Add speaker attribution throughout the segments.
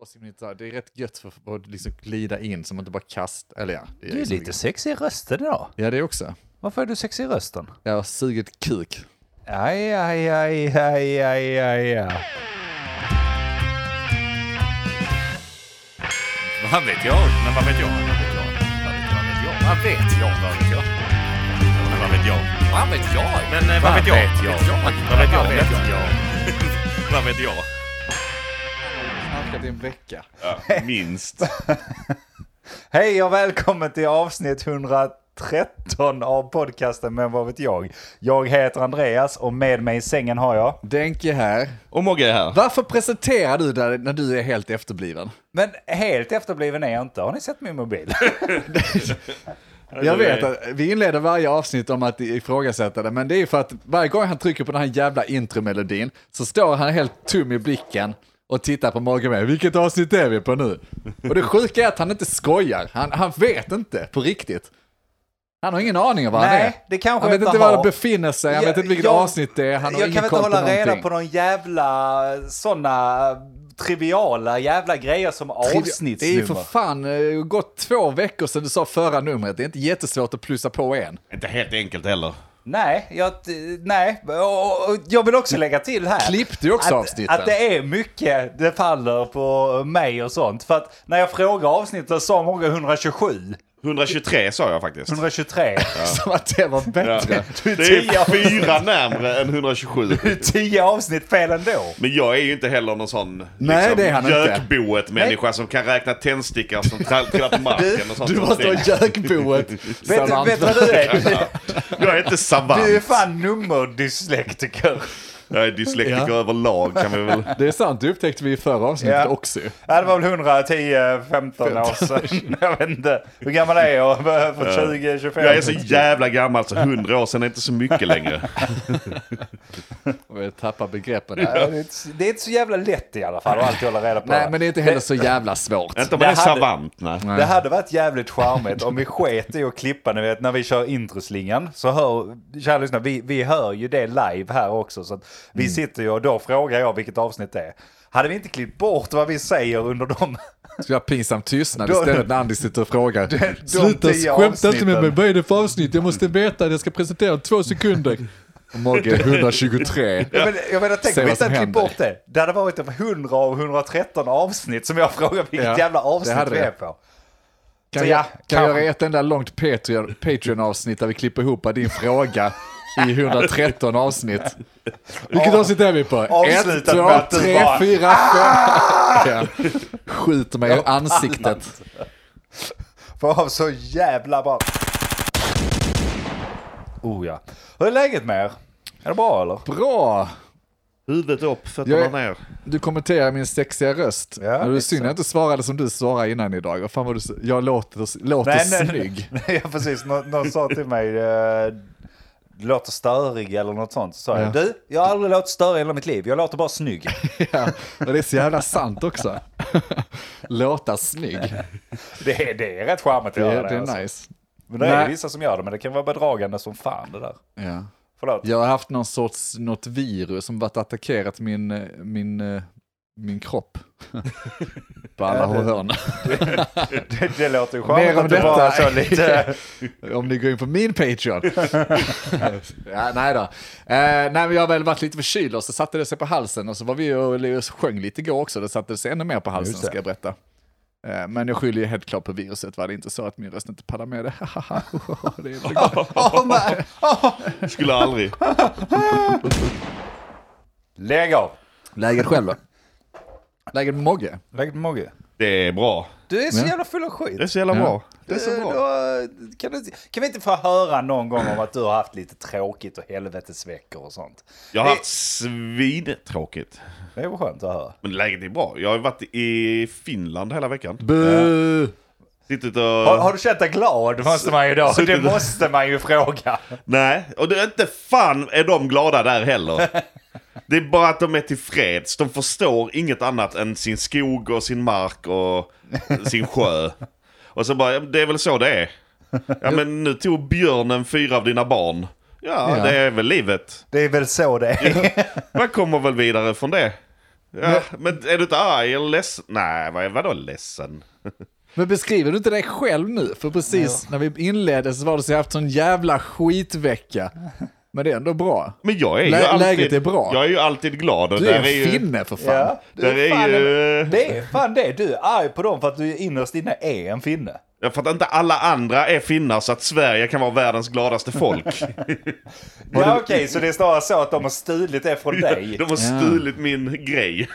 Speaker 1: 80-minuter, det är rätt gött för för att liksom glida in så man inte bara kast... Eller ja, det
Speaker 2: Du är
Speaker 1: liksom-
Speaker 2: lite sexig i rösten idag.
Speaker 1: Ja, det också.
Speaker 2: Varför är du sexig i rösten?
Speaker 1: Jag har sugit kuk.
Speaker 2: Aj, aj, aj, aj, aj, aj, aj.
Speaker 3: Vad vet jag? Men vad vet jag? Vad vet jag? Vad vet jag? Vad vet jag? Men vad vet jag? Vad vet jag? Men eh, vad vet jag? Vad vet jag? Vad vet jag? Vad vet jag?
Speaker 1: Snarkat i en vecka.
Speaker 3: Ja, Minst.
Speaker 2: Hej och välkommen till avsnitt 113 av podcasten Men vad vet jag? Jag heter Andreas och med mig i sängen har jag...
Speaker 1: Denke här.
Speaker 3: Och Mogge är här.
Speaker 1: Varför presenterar du dig när du är helt efterbliven?
Speaker 2: Men helt efterbliven är jag inte. Har ni sett min mobil?
Speaker 1: Jag vet att vi inleder varje avsnitt om att ifrågasätta det, men det är för att varje gång han trycker på den här jävla intromelodin så står han helt tom i blicken och tittar på Morgan med. Vilket avsnitt är vi på nu? Och det sjuka är att han inte skojar. Han, han vet inte på riktigt. Han har ingen aning om vad han är.
Speaker 2: Nej, det kanske
Speaker 1: Han vet
Speaker 2: jag
Speaker 1: inte
Speaker 2: inte
Speaker 1: var
Speaker 2: har.
Speaker 1: han befinner sig, han
Speaker 2: Jag-
Speaker 1: vet inte vilket
Speaker 2: jag-
Speaker 1: avsnitt det är, han har
Speaker 2: jag
Speaker 1: ingen
Speaker 2: kan inte
Speaker 1: koll på
Speaker 2: hålla
Speaker 1: någonting.
Speaker 2: reda på någon jävla sådana triviala jävla grejer som
Speaker 1: Det är ju för
Speaker 2: avsnittsnummer.
Speaker 1: fan eh, gått två veckor sedan du sa förra numret, det är inte jättesvårt att plussa på en.
Speaker 3: Inte helt enkelt heller.
Speaker 2: Nej, jag, nej. Och, och, jag vill också lägga till här.
Speaker 1: Klippte ju också
Speaker 2: att,
Speaker 1: avsnitten.
Speaker 2: Att det är mycket det faller på mig och sånt. För att när jag frågar avsnittet sa många 127,
Speaker 3: 123 sa jag faktiskt.
Speaker 2: 123,
Speaker 1: Som att det var bättre.
Speaker 3: Ja. Det är fyra närmre än 127.
Speaker 2: 10 avsnitt fel ändå.
Speaker 3: Men jag är ju inte heller någon sån
Speaker 1: Nej, det är han inte.
Speaker 3: gökboet människa som kan räkna tändstickor som tra- trillar på marken och sånt.
Speaker 1: Du måste ha gökboet.
Speaker 2: Vet, du-
Speaker 1: savant.
Speaker 2: vet du vad du är?
Speaker 3: Ja. Jag är inte savant.
Speaker 2: Du är fan nummerdyslektiker.
Speaker 3: Jag är dyslektiker
Speaker 1: Ja.
Speaker 3: överlag kan vi väl...
Speaker 1: Det är sant, det upptäckte vi i förra avsnittet
Speaker 2: Ja.
Speaker 1: också.
Speaker 2: Ja, det var väl 110, 15 år sedan. Jag vet inte. Hur gammal är jag? För 20, 25?
Speaker 3: Jag är så jävla gammal så hundra år sedan är inte så mycket längre.
Speaker 1: Och vi tappar begreppen där.
Speaker 2: Ja, det är inte så- Det är inte så jävla lätt i alla fall att alltid hålla reda på.
Speaker 1: Nej, men det är inte heller så jävla svårt.
Speaker 3: Inte om man
Speaker 2: Det
Speaker 3: är
Speaker 2: hade-
Speaker 3: savant, nej.
Speaker 2: Det hade varit jävligt charmigt om vi sket i att klippa, ni vet när vi kör introslingan. Så hör, kära lyssnare, vi, vi hör ju det live här också. Så att vi
Speaker 1: Mm.
Speaker 2: sitter ju och då frågar jag vilket avsnitt det är. Hade vi inte klippt bort vad vi säger under dem?
Speaker 1: Ska jag ha pinsam tystnad
Speaker 2: Då-
Speaker 1: istället när Andy sitter och frågar.
Speaker 2: tio
Speaker 1: Sluta skämta inte med
Speaker 2: avsnitten.
Speaker 1: mig, vad är det för avsnitt? Jag måste veta, jag ska presentera om två sekunder. Och Mogge 123.
Speaker 2: Jag menar, jag menar tänk
Speaker 1: Se
Speaker 2: om vi
Speaker 1: vad
Speaker 2: inte
Speaker 1: som
Speaker 2: hade klippt
Speaker 1: händer.
Speaker 2: bort det. Det hade varit över 100 av 113 avsnitt som jag frågar vilket
Speaker 1: Ja,
Speaker 2: jävla
Speaker 1: det
Speaker 2: avsnitt
Speaker 1: hade
Speaker 2: vi är
Speaker 1: det.
Speaker 2: på.
Speaker 1: Kan,
Speaker 2: Så
Speaker 1: jag,
Speaker 2: ja,
Speaker 1: kan jag
Speaker 2: kanske.
Speaker 1: göra ett enda långt Patreon- Patreon-avsnitt där vi klipper ihop din fråga i 113 avsnitt? Vilket
Speaker 2: Ja.
Speaker 1: avsnitt är vi på? Ett,
Speaker 2: Avslutat
Speaker 1: två,
Speaker 2: med att du
Speaker 1: tre,
Speaker 2: bara- Ah!
Speaker 1: fyra, fem. Ja. Skjuter mig i ansiktet.
Speaker 2: För av så jävla bra. Oh ja. Hur är läget med er? Är det bra eller?
Speaker 1: Bra!
Speaker 3: Huvudet upp,
Speaker 1: Jag-
Speaker 3: fötterna ner.
Speaker 1: Du kommenterar min sexiga röst.
Speaker 2: Ja,
Speaker 1: Ja, det är
Speaker 2: exakt.
Speaker 1: synd jag inte svarade som du svarade innan idag. Vad fan var du, s- jag låter, låter snygg.
Speaker 2: nej, nej, ja, precis. Nå, någon sa till mig, eh, du låter störig eller något sånt. Så sa
Speaker 1: Ja.
Speaker 2: jag, du, jag har aldrig låtit störig i hela mitt liv. Jag låter bara snygg.
Speaker 1: Ja, och det är så jävla sant också. Låta snygg.
Speaker 2: Det, är- det är rätt charmigt att
Speaker 1: Det,
Speaker 2: göra
Speaker 1: är-
Speaker 2: det.
Speaker 1: det
Speaker 2: alltså.
Speaker 1: är nice.
Speaker 2: Men det är
Speaker 1: Nej.
Speaker 2: ju vissa som gör det, men det kan vara bedragande som fan det där.
Speaker 1: Ja.
Speaker 2: Förlåt.
Speaker 1: Jag har haft någon sorts, något virus som varit attackerat min, eh, min, eh, min kropp. På alla
Speaker 2: Ja, det-
Speaker 1: hörn.
Speaker 2: Det, det låter ju
Speaker 1: Mer
Speaker 2: charmigt
Speaker 1: om
Speaker 2: att du
Speaker 1: detta.
Speaker 2: bara så lite...
Speaker 1: Om ni går in på min Patreon. ja, nej då. Eh, nej, men jag har väl varit lite förkyld och så satte det sig på halsen och så var vi och sjöng lite igår också. Det satte sig ännu mer på halsen
Speaker 2: Just det.
Speaker 1: ska jag berätta. Eh, men jag skyller ju helt klart på viruset. Var det inte så att min röst inte pallar med det? det är väl gott.
Speaker 2: Åh, nej.
Speaker 3: Skulle aldrig.
Speaker 2: Lägg av!
Speaker 1: Läget själv då? Läget med Mogge?
Speaker 2: Lägg på Mogge.
Speaker 3: Det är bra.
Speaker 2: Du är så
Speaker 1: Ja.
Speaker 2: jävla full av skit.
Speaker 3: Det är så jävla bra.
Speaker 1: Det är så
Speaker 2: Eh,
Speaker 1: bra.
Speaker 2: Då, kan, du, kan vi inte få höra någon gång om att du har haft lite tråkigt och helvetesveckor och sånt?
Speaker 3: Jag har haft svintråkigt.
Speaker 2: Det är väl skönt att höra.
Speaker 3: Men läget är bra. Jag har ju varit i Finland hela
Speaker 2: Eh,
Speaker 3: veckan.
Speaker 1: Bu!
Speaker 3: Suttit
Speaker 2: Har,
Speaker 3: och...
Speaker 2: har du känt dig glad måste man ju då.
Speaker 3: så-
Speaker 2: Det måste man ju fråga.
Speaker 3: Nej, och det är inte fan är de glada där heller. Det är bara att de är tillfreds. De förstår inget annat än sin skog och sin mark och sin sjö. Och så bara, ja, det är väl så det är. Ja men nu tog björnen fyra av dina barn. Ja,
Speaker 1: Ja.
Speaker 3: det är väl livet.
Speaker 2: Det är väl så det är.
Speaker 3: Man kommer väl vidare från det. Ja, men är du inte arg eller ledsen? Nej, vad- vadå ledsen?
Speaker 1: Men beskriver du inte dig själv nu? För precis när vi inledde så var det så jag haft sån jävla skitvecka. Men det är ändå bra.
Speaker 3: Men jag är ju
Speaker 1: Lä-
Speaker 3: alltid...
Speaker 1: läget är bra.
Speaker 3: Jag är ju alltid glad. Och
Speaker 1: Du
Speaker 3: där
Speaker 1: är en
Speaker 3: ju,
Speaker 1: finne för fan.
Speaker 2: Ja, du
Speaker 3: Där är
Speaker 2: fan
Speaker 3: ju-
Speaker 2: en- Det är fan det, du är arg på dem för att du innerst inne är en finne.
Speaker 3: Ja, För att inte alla andra är finnar så att Sverige kan vara världens gladaste folk.
Speaker 2: Ja okej, så det är snarare så att de har stulit det från dig.
Speaker 3: De har stulit min grej.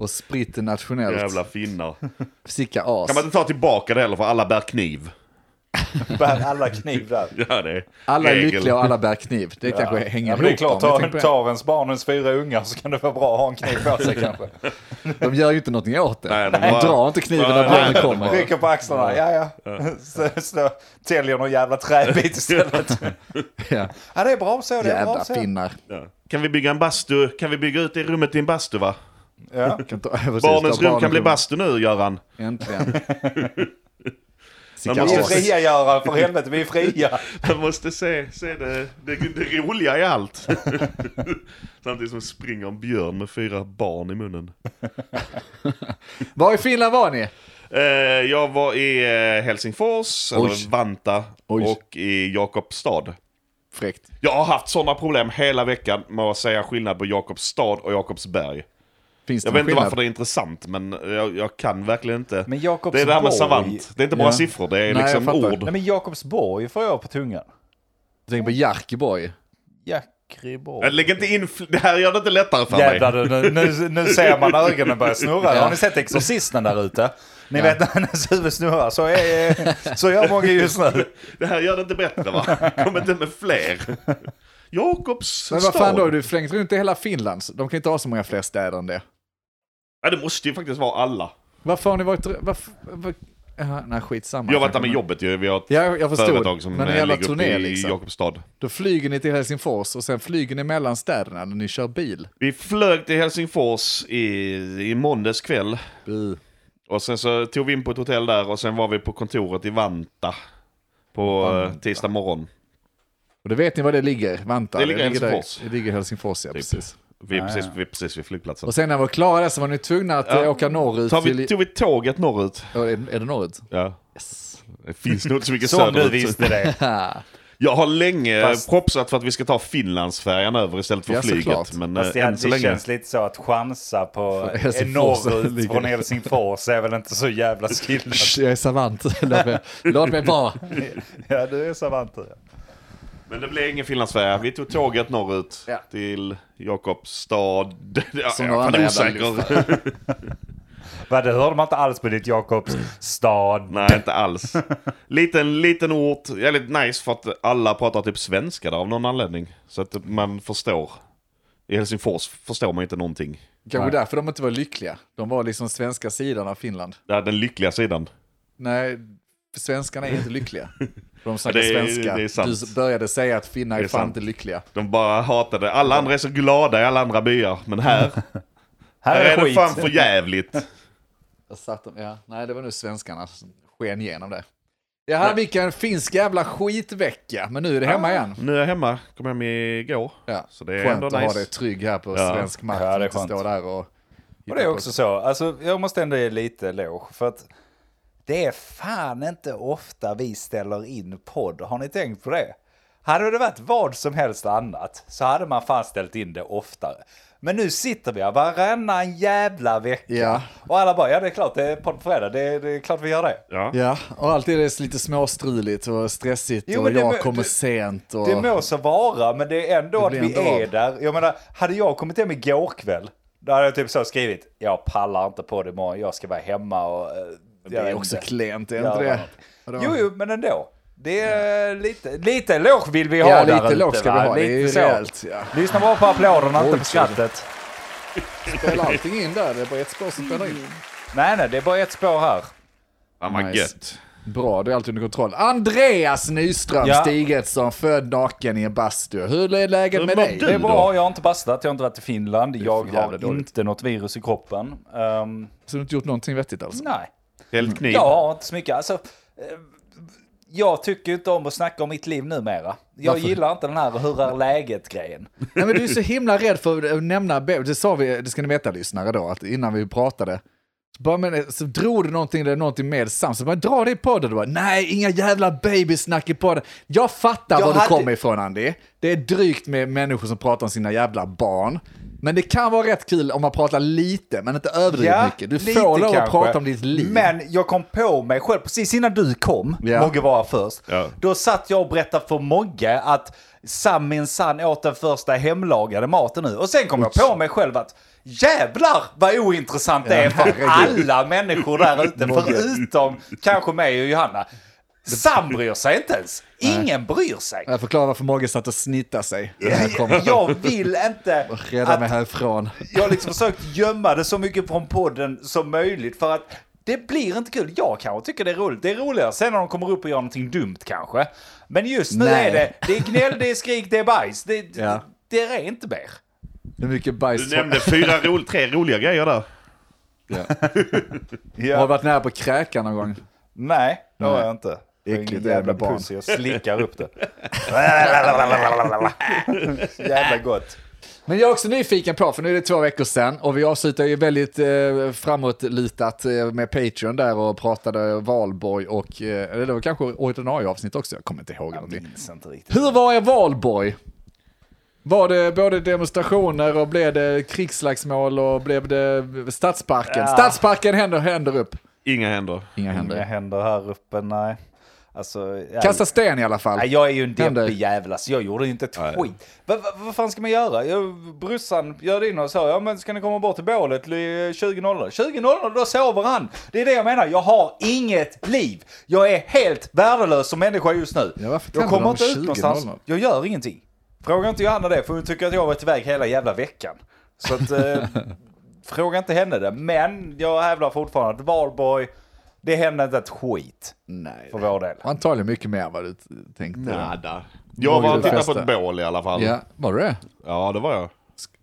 Speaker 1: Och spritt nationellt.
Speaker 3: Jävla finnar.
Speaker 1: Sicka as.
Speaker 3: Kan man inte ta tillbaka det heller för alla bär kniv.
Speaker 2: Bär alla kniv där.
Speaker 3: Ja, det är
Speaker 1: Alla är
Speaker 3: regel.
Speaker 1: lyckliga och alla bär kniv. Det kanske hänger
Speaker 2: Ja, men det är
Speaker 1: ihop.
Speaker 2: klart,
Speaker 1: om jag tänker
Speaker 2: tar,
Speaker 1: på det.
Speaker 2: tar ens barn och ens fyra ungar så kan det vara bra att ha en kniv på sig kanske.
Speaker 1: De gör ju inte någonting åt det.
Speaker 3: Nej,
Speaker 1: de
Speaker 3: de bara-
Speaker 1: drar inte kniven
Speaker 3: Nej,
Speaker 1: när barnen
Speaker 3: nej,
Speaker 1: kommer.
Speaker 2: Rycker på axlarna, ja ja. Så- så Täljer någon jävla träbit istället.
Speaker 1: Ja.
Speaker 2: Ja det är bra så, det är bra
Speaker 1: Jävla
Speaker 2: så.
Speaker 1: finnar.
Speaker 3: Ja. Kan vi bygga en bastu? Kan vi bygga ut det rummet i en bastu va?
Speaker 2: Ja.
Speaker 1: Kan ta- precis,
Speaker 3: Barnens
Speaker 1: ta
Speaker 3: rum kan bli
Speaker 1: barnen-
Speaker 3: bastu nu Göran.
Speaker 1: Äntligen. Sicka
Speaker 3: Man
Speaker 2: Vi är
Speaker 1: as.
Speaker 3: måste-
Speaker 2: fria Göran, för helvete vi är fria.
Speaker 3: Man måste se, se det, det, det roliga i allt. Samtidigt som springer en björn med fyra barn i munnen.
Speaker 1: Var i Finland var ni?
Speaker 3: Eh, jag var i eh, Helsingfors,
Speaker 1: Oj.
Speaker 3: eller Vanta,
Speaker 1: Oj.
Speaker 3: och i Jakobstad.
Speaker 1: Fräckt.
Speaker 3: Jag har haft sådana problem hela veckan med att säga skillnad på Jakobstad och Jakobsberg.
Speaker 1: Finns det någon
Speaker 3: Jag vet inte
Speaker 1: skillnad?
Speaker 3: varför det är intressant, men jag, jag kan verkligen inte.
Speaker 2: Men
Speaker 3: det är det här
Speaker 2: Jakobsborg-
Speaker 3: med savant. Det är inte bara
Speaker 1: Ja.
Speaker 3: siffror, det är
Speaker 1: Nej,
Speaker 3: liksom
Speaker 1: jag fattar.
Speaker 3: ord.
Speaker 2: Nej men Jakobsborg får jag på tungan.
Speaker 1: Jag tänker på Jarkiborg.
Speaker 2: Jackriborg.
Speaker 3: Jag lägger inte in... fl- Det här gör det inte lättare för mig.
Speaker 2: Jävlar du, nu, nu, nu ser man ögonen börja snurra.
Speaker 1: Ja.
Speaker 2: Har ni sett Exorcisten där ute? Ni
Speaker 1: Ja.
Speaker 2: vet när hennes huvud snurrar, så, är, så gör många just nu.
Speaker 3: Det här gör det inte bättre va? Kom inte med fler. Jakobs
Speaker 1: Men vad fan
Speaker 3: stad.
Speaker 1: då? Du flängt runt i hela Finland. så De kan inte ha så många fler städer än det.
Speaker 3: Ja, det måste ju faktiskt vara alla.
Speaker 1: Varför har ni varit... Varför, var, ja, nej, skitsamma.
Speaker 3: Jag har varit där med jobbet ju. Vi har ett
Speaker 1: Ja, jag förstod.
Speaker 3: företag som
Speaker 1: Men en
Speaker 3: eh,
Speaker 1: jävla
Speaker 3: ligger uppe
Speaker 1: turné
Speaker 3: i
Speaker 1: liksom.
Speaker 3: Jakobstad.
Speaker 1: Då flyger ni till Helsingfors och sen flyger ni mellan städerna när ni kör bil.
Speaker 3: Vi flög till Helsingfors i, i måndags kväll. Och sen så tog vi in på ett hotell där och sen var vi på kontoret i Vanta. På eh, tisdag morgon.
Speaker 1: Och då vet ni var det ligger, Vanta.
Speaker 3: Det ligger i
Speaker 1: där-
Speaker 3: Helsingfors. Typ.
Speaker 1: Det ligger i Helsingfors, ja precis.
Speaker 3: Vi är precis, vi är precis vid flygplatsen.
Speaker 1: Och sen när vi var klara där så var ni tvungna att eh, åka norrut
Speaker 3: Tar vi,
Speaker 1: till...
Speaker 3: tog vi tåget norrut?
Speaker 1: Ja, är, är det norrut?
Speaker 3: Ja. Det finns nog inte så mycket
Speaker 2: Som du
Speaker 3: söderut.
Speaker 2: visste det.
Speaker 3: Jag har länge
Speaker 2: Fast-
Speaker 3: propsat för att vi ska ta Finlandsfärjan över istället för
Speaker 1: Ja,
Speaker 3: flyget.
Speaker 1: såklart.
Speaker 3: Men
Speaker 2: Fast
Speaker 3: Fast
Speaker 2: det,
Speaker 3: än
Speaker 2: hade,
Speaker 3: så
Speaker 2: det
Speaker 3: länge.
Speaker 2: känns lite så att chansa på
Speaker 1: Helsingfors
Speaker 2: norrut
Speaker 1: ligger.
Speaker 2: från Helsingfors är väl inte så jävla skillnad.
Speaker 1: Psh, Jag är savant. Låt mig- Låt mig vara.
Speaker 2: Ja, du är savant du.
Speaker 3: Men det blev ingen Finlandsfärja. Vi tog tåget norrut
Speaker 1: Ja.
Speaker 3: till Jakobstad. Ja,
Speaker 1: Som några
Speaker 3: jag är
Speaker 1: andra
Speaker 3: fan
Speaker 1: jävla
Speaker 3: osäker.
Speaker 2: Va, det hörde man inte alls på ditt Jakobsstad.
Speaker 3: Nej, inte alls. Liten, liten ort. Jävligt nice för att alla pratar typ svenska där av någon anledning. Så att man förstår. I Helsingfors förstår man ju inte någonting.
Speaker 1: Kanske därför de inte var lyckliga. De var liksom svenska sidan av Finland.
Speaker 3: Det är den lyckliga sidan.
Speaker 1: Nej, svenskarna är inte lyckliga. För De snackar
Speaker 3: Det är-
Speaker 1: svenska.
Speaker 3: det är sant.
Speaker 1: Du började säga att finnar är,
Speaker 3: är
Speaker 1: fan
Speaker 3: sant.
Speaker 1: inte lyckliga.
Speaker 3: De bara hatade. Alla andra är så glada i alla andra byar. Men här, här är det fan för jävligt.
Speaker 1: Jag satt, ja, nej, det var nu svenskarna som sken igenom det. Jaha, vilken finsk jävla skitvecka. Men nu är det hemma igen.
Speaker 3: Nu är jag hemma. Kom hem igår.
Speaker 1: Ja,
Speaker 3: Så det är
Speaker 1: skönt
Speaker 3: ändå
Speaker 1: att
Speaker 3: nice.
Speaker 1: ha dig trygg här på
Speaker 3: Ja.
Speaker 1: svensk mark.
Speaker 2: Ja, det är
Speaker 1: och inte
Speaker 2: skönt.
Speaker 1: stå där och...
Speaker 2: Och det är också så, alltså jag måste ändå ge lite eloge för att det är fan inte ofta vi ställer in podd, har ni tänkt på det? Hade det varit vad som helst annat så hade man fan ställt in det oftare. Men nu sitter vi här varannan jävla vecka
Speaker 1: Ja.
Speaker 2: och alla bara ja det är klart det är podd på fredag, det är, det är klart vi gör det.
Speaker 3: Ja.
Speaker 1: Ja, och alltid är det lite småstruligt och stressigt
Speaker 2: Jo,
Speaker 1: och
Speaker 2: men det
Speaker 1: jag
Speaker 2: må-
Speaker 1: kommer
Speaker 2: det-
Speaker 1: sent. Och...
Speaker 2: Det må så vara, men det är ändå
Speaker 1: Det
Speaker 2: att
Speaker 1: blir
Speaker 2: vi
Speaker 1: ändå
Speaker 2: är
Speaker 1: av.
Speaker 2: där. Jag menar, hade jag kommit hem igår kväll, då hade jag typ så skrivit, jag pallar inte på det imorgon, jag ska vara hemma och... eh,
Speaker 1: Det
Speaker 2: jag
Speaker 1: är
Speaker 2: vet
Speaker 1: också
Speaker 2: inte."
Speaker 1: klent, är
Speaker 2: Ja,
Speaker 1: inte det?
Speaker 2: vad- Jo, jo, men ändå. Det är lite, lite eloge vill vi ha
Speaker 1: Ja,
Speaker 2: där
Speaker 1: lite
Speaker 2: ute,
Speaker 1: eloge ska
Speaker 2: va?
Speaker 1: vi ha, det är
Speaker 2: Lite
Speaker 1: ju
Speaker 2: så.
Speaker 1: rejält, ja.
Speaker 2: Lyssna bara på applåderna, inte
Speaker 1: Oj,
Speaker 2: på skrattet.
Speaker 1: Spela allting in där, det är bara ett spår som spelar in.
Speaker 2: Nej, nej, det är bara ett spår här.
Speaker 3: Fan vad
Speaker 1: Nice.
Speaker 3: gött.
Speaker 1: Bra, det är allt under kontroll. Andreas Nyström
Speaker 2: Ja.
Speaker 1: Stigetsson, född naken i en bastu. Hur är läget
Speaker 3: Men
Speaker 1: med
Speaker 3: vad
Speaker 1: dig?
Speaker 3: du-
Speaker 2: Det är bra, jag har inte bastat, jag har inte varit i Finland, jag
Speaker 1: jävla
Speaker 2: har
Speaker 1: dåligt.
Speaker 2: inte något virus i kroppen. Ehm,
Speaker 1: Så du har inte gjort någonting vettigt alltså?
Speaker 2: nej.
Speaker 3: Helt kniv.
Speaker 2: Jag har inte så mycket. Alltså, eh, jag tycker ju inte om att snacka om mitt liv numera. Jag
Speaker 1: Varför?
Speaker 2: gillar inte den här hur är läget-grejen.
Speaker 1: Nej, men du är så himla rädd för att nämna Beowulf. Det sa vi, det ska ni veta lyssnare då, att innan vi pratade. Så, bara, men, så drog du någonting, eller någonting med Sam, så bara dra det i podden. Du bara, nej, inga jävla babysnack i podden. Jag fattar
Speaker 2: Jag
Speaker 1: var
Speaker 2: hade-
Speaker 1: du kommer ifrån Andy. Det är drygt med människor som pratar om sina jävla barn. Men det kan vara rätt kul om man pratar lite, men inte överdrivet mycket. Du
Speaker 2: lite
Speaker 1: får lov att
Speaker 2: kanske.
Speaker 1: prata om ditt liv.
Speaker 2: Men jag kom på mig själv, precis innan du kom,
Speaker 1: Ja.
Speaker 2: Mogge var först,
Speaker 3: Ja.
Speaker 2: då satt jag och berättade för Mogge att Sam minsann åt den första hemlagade maten nu. Och sen kom jag på mig själv att jävlar vad ointressant det är för
Speaker 1: herregud.
Speaker 2: alla människor där ute,
Speaker 1: Mogge.
Speaker 2: förutom kanske mig och Johanna. Sam bryr sig inte ens. Ingen bryr sig.
Speaker 1: Jag förklarar varför Mogge satt och snittade sig. när jag kom.
Speaker 2: Jag vill inte
Speaker 1: Rädda
Speaker 2: att
Speaker 1: mig härifrån.
Speaker 2: jag har liksom försökt gömma det så mycket från podden som möjligt för att det blir inte kul. Jag kanske tycker det är roligt. Det är roligare sen när de kommer upp och gör någonting dumt kanske. Men just nu
Speaker 1: Nej.
Speaker 2: är det, det är gnäll, det är skrik, det är bajs. Det,
Speaker 1: Ja.
Speaker 2: det är inte mer.
Speaker 1: Hur mycket bajs...
Speaker 3: Du nämnde fyra ro- tre roliga grejer där.
Speaker 1: Har du varit nära på att kräka någon gång?
Speaker 2: Nej, det har jag inte.
Speaker 1: Äckligt
Speaker 2: Ingen
Speaker 1: jävla barn.
Speaker 2: puss, jag slickar upp det. jävla gott.
Speaker 1: Men jag är också nyfiken på, för nu är det två veckor sedan och vi avslutar ju väldigt eh, framåtlutat eh, med Patreon där och pratade valborg och, eh, eller det var kanske ordinarie avsnitt också, jag kommer inte ihåg.
Speaker 2: Jag
Speaker 1: någonting.
Speaker 2: minns inte riktigt.
Speaker 1: Hur var er valborg? Var det både demonstrationer och blev det krigsslagsmål och blev det stadsparken?
Speaker 2: Ja.
Speaker 1: Stadsparken händer, händer upp.
Speaker 3: Inga händer.
Speaker 1: Inga händer.
Speaker 2: Inga händer här uppe, nej. Alltså, ja.
Speaker 1: Kasta sten i alla fall.
Speaker 2: Nej, jag är ju en
Speaker 1: Händer.
Speaker 2: deppig jävla så jag gjorde ju inte ett skit. Vad va, vad fan ska man göra? Jag, brorsan gör in och sa, ja men ska ni komma bort till bålet li- 20.00? 20.00 då sover han! Det är det jag menar, jag har inget liv! Jag är helt värdelös som människa just nu.
Speaker 1: Ja, varför
Speaker 2: jag
Speaker 1: tänder
Speaker 2: kommer
Speaker 1: de
Speaker 2: inte ut
Speaker 1: 20.00?
Speaker 2: någonstans, jag gör ingenting. Fråga inte Johanna det, för hon tycker att jag har varit iväg hela jävla veckan. Så att, eh, fråga inte henne det. Men jag hävdar fortfarande att valborg, det hände inte ett skit
Speaker 1: Nej.
Speaker 2: för vår del.
Speaker 1: Antagligen mycket mer än vad du t- tänkte.
Speaker 3: Nada. Jag var och tittade på ett bål i alla fall.
Speaker 1: Ja, var det det?
Speaker 3: Ja, det var jag.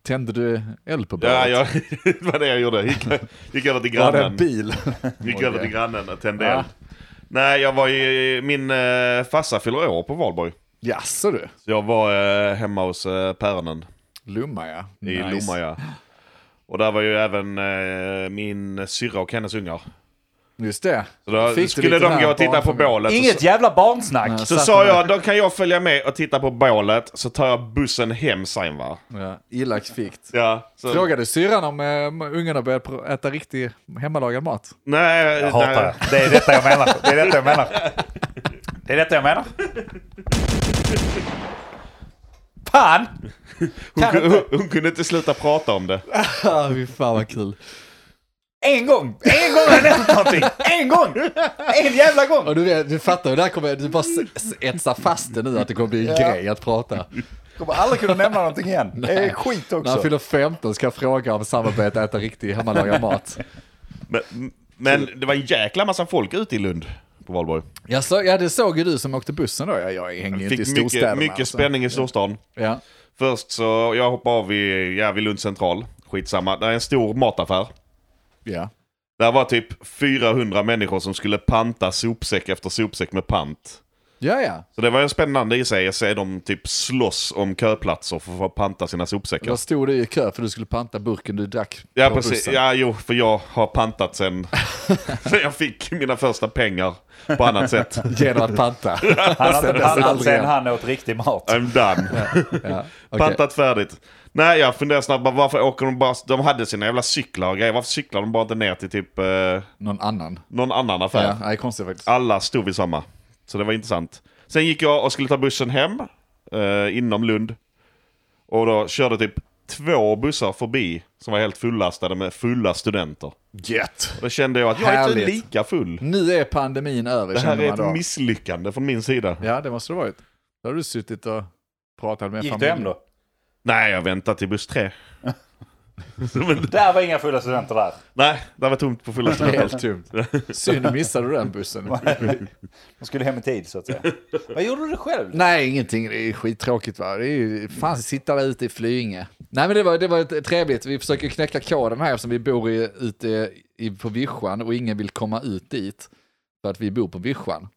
Speaker 1: Tände du eld på bålet?
Speaker 3: Ja, jag, det var det jag gjorde. Gick, gick över till
Speaker 1: Var det en
Speaker 3: grannen.
Speaker 1: bil?
Speaker 3: Gick
Speaker 1: Oj,
Speaker 3: över
Speaker 1: ja.
Speaker 3: till grannen och tände
Speaker 1: Ja.
Speaker 3: eld. Nej, jag var i, min eh, farsa fyller år på valborg.
Speaker 1: Jaså du?
Speaker 3: Så jag var eh, hemma hos eh, päronen
Speaker 1: Lumma ja.
Speaker 3: i Lomma. Ja. Och där var ju även eh, min syrra och hennes ungar.
Speaker 1: Just det.
Speaker 3: Så då
Speaker 1: Fick du
Speaker 3: skulle
Speaker 1: lite
Speaker 3: de
Speaker 1: här
Speaker 3: gå och titta på
Speaker 1: barnfamilj?
Speaker 3: bålet. och
Speaker 2: Inget jävla barnsnack!
Speaker 3: Så sa jag, då kan jag följa med och titta på bålet, så tar jag bussen hem sen va?
Speaker 1: Ja, illa kvickt.
Speaker 3: Ja, så,
Speaker 1: Frågade syrran om eh, ungarna började pr- äta riktig hemmalagad mat?
Speaker 3: Nej, jag
Speaker 2: hatar det. Det är detta jag menar. Det är detta jag menar. Det är detta jag menar. Fan!
Speaker 3: Hon,
Speaker 2: Kan
Speaker 3: ku-
Speaker 2: inte.
Speaker 3: hon, hon kunde inte sluta prata om det.
Speaker 1: Ah, fy fan vad kul.
Speaker 2: En gång! En gång har jag nämnt någonting! En gång! En jävla gång!
Speaker 1: Och du, vet, du fattar ju, där kommer, du bara s- s- etsar fast det nu att det kommer bli en
Speaker 2: Ja.
Speaker 1: grej att prata.
Speaker 2: Kommer aldrig kunna nämna någonting igen. Det är skit
Speaker 1: När han
Speaker 2: också.
Speaker 1: fyller 15 ska jag fråga om samarbetet att äta riktig hemmalagad mat.
Speaker 3: Men, men det var en jäkla massa folk ute i Lund på valborg.
Speaker 1: Jag så, ja, det såg ju du som åkte bussen då. Jag, jag hänger ju inte i
Speaker 3: Fick
Speaker 1: storstäderna.
Speaker 3: mycket, mycket
Speaker 1: alltså.
Speaker 3: spänning i storstan.
Speaker 1: Ja.
Speaker 3: Först så, jag hoppade av vid, ja, vid Lund central. Skitsamma, det är en stor mataffär.
Speaker 1: ja.
Speaker 3: Där var typ 400 människor som skulle panta sopsäck efter sopsäck med pant.
Speaker 1: Ja, ja.
Speaker 3: Så det var ju spännande i sig att se dem typ slåss om köplatser för att få panta sina sopsäckar.
Speaker 1: Då stod du i kö för du skulle panta burken du drack
Speaker 3: Ja,
Speaker 1: på
Speaker 3: precis.
Speaker 1: bussen.
Speaker 3: Ja, jo, för jag har pantat sen, sen jag fick mina första pengar på annat sätt.
Speaker 1: Genom att panta.
Speaker 2: Han har inte
Speaker 1: Sen dess
Speaker 2: handlat
Speaker 1: aldrig
Speaker 2: sen
Speaker 1: igen.
Speaker 2: han åt riktig mat.
Speaker 3: I'm done.
Speaker 1: Ja, okej.
Speaker 3: Pantat färdigt. Nej, jag funderar snabbt bara, varför åker de bara... De hade sina jävla cyklar och grejer. Varför cyklar de bara inte ner till typ eh,
Speaker 1: Någon annan.
Speaker 3: någon annan affär?
Speaker 1: Ja, det är konstigt faktiskt. Ah,
Speaker 3: Alla stod vid samma. Så det var intressant. Sen gick jag och skulle ta bussen hem eh, inom Lund. Och då körde typ två bussar förbi som var helt fullastade med fulla studenter. Och
Speaker 1: Gött!
Speaker 3: då kände jag att jag är inte
Speaker 1: Härligt.
Speaker 3: lika full.
Speaker 1: Nu är pandemin över
Speaker 3: Det här
Speaker 1: känner
Speaker 3: är
Speaker 1: man då.
Speaker 3: ett misslyckande från min sida.
Speaker 1: Ja, det måste det ha varit. Då har du suttit och pratat med
Speaker 2: Gick du
Speaker 1: familjen.
Speaker 2: hem då?
Speaker 3: Nej, jag väntar till buss tre. Så, men,
Speaker 2: Där var inga fulla studenter där.
Speaker 3: nej, det var tomt på fulla
Speaker 1: Det är
Speaker 3: ställen.
Speaker 1: Helt tomt. Synd, missade du den bussen.
Speaker 2: De skulle hem i tid så att säga. Vad gjorde du själv?
Speaker 1: Nej, ingenting. Det är skittråkigt va. Det är ju, fan, sitta där ute i Flyinge. Nej, men det var, det var ett- trevligt. Vi försöker knäcka koden här eftersom vi bor i, ute i, på vischan och ingen vill komma ut dit. För att vi bor på vischan.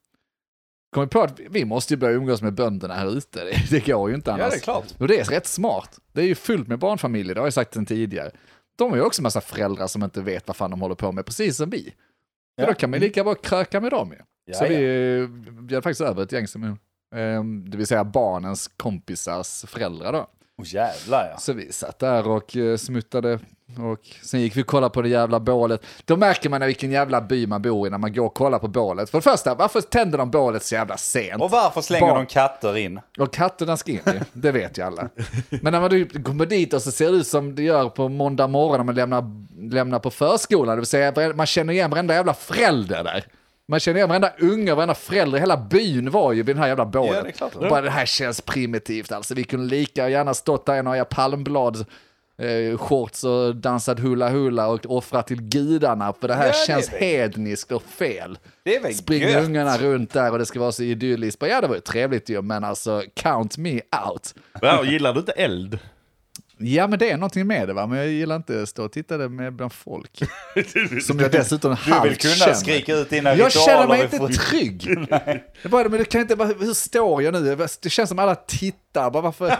Speaker 1: Kommer på att vi- vi måste ju börja umgås med bönderna här ute. Det, det går ju inte annars.
Speaker 2: det är klart.
Speaker 1: Och det är rätt smart. Det är ju fullt med barnfamiljer, det har jag sagt sen tidigare. De har ju också massa föräldrar som inte vet vad fan de håller på med, precis som vi.
Speaker 2: Ja.
Speaker 1: Så då kan man ju lika bra kröka med dem ju.
Speaker 2: Ja,
Speaker 1: så
Speaker 2: ja.
Speaker 1: vi eh, bjöd faktiskt över ett gäng som, eh, det vill säga barnens kompisars föräldrar då.
Speaker 2: Åh jävlar ja.
Speaker 1: Så vi satt där och eh, smuttade och sen gick vi och kollade på det jävla bålet. Då märker man vilken jävla by man bor i när man går och kollar på bålet. För det första, varför tänder de bålet så jävla sent?
Speaker 2: Och varför slänger
Speaker 1: Barn.
Speaker 2: de katter in?
Speaker 1: Och katterna ska in i, det vet ju alla. Men när man du kommer dit och så ser det ut som det gör på måndag morgon när man lämnar, lämnar på förskolan, det vill säga vare- man känner igen varenda jävla förälder där. Man känner igen varenda unge och varenda förälder, hela byn var ju vid den här jävla båten.
Speaker 2: Ja, det är klart.
Speaker 1: och bara det här känns primitivt alltså, vi kunde lika gärna stått där i några palmblad, eh, shorts och dansat hula hula och offrat till gudarna, för det här
Speaker 2: Ja, det är
Speaker 1: känns
Speaker 2: det.
Speaker 1: hedniskt och fel.
Speaker 2: Det är väl
Speaker 1: Springer
Speaker 2: gött?
Speaker 1: ungarna runt där och det ska vara så idylliskt. Bara, Ja, det var ju trevligt ju, men alltså count me out.
Speaker 3: Ja, gillar du inte eld?
Speaker 1: Ja, men det är någonting med det, va? men jag gillar inte att stå och titta det med bland folk. Som jag dessutom
Speaker 2: Du vill
Speaker 1: halvt
Speaker 2: kunna
Speaker 1: känner.
Speaker 2: skrika ut dina
Speaker 1: Jag känner mig
Speaker 2: är
Speaker 1: inte
Speaker 2: fru-
Speaker 1: trygg. Jag bara, men det kan inte, vara- hur står jag nu? Det känns som alla tittar. Bara varför?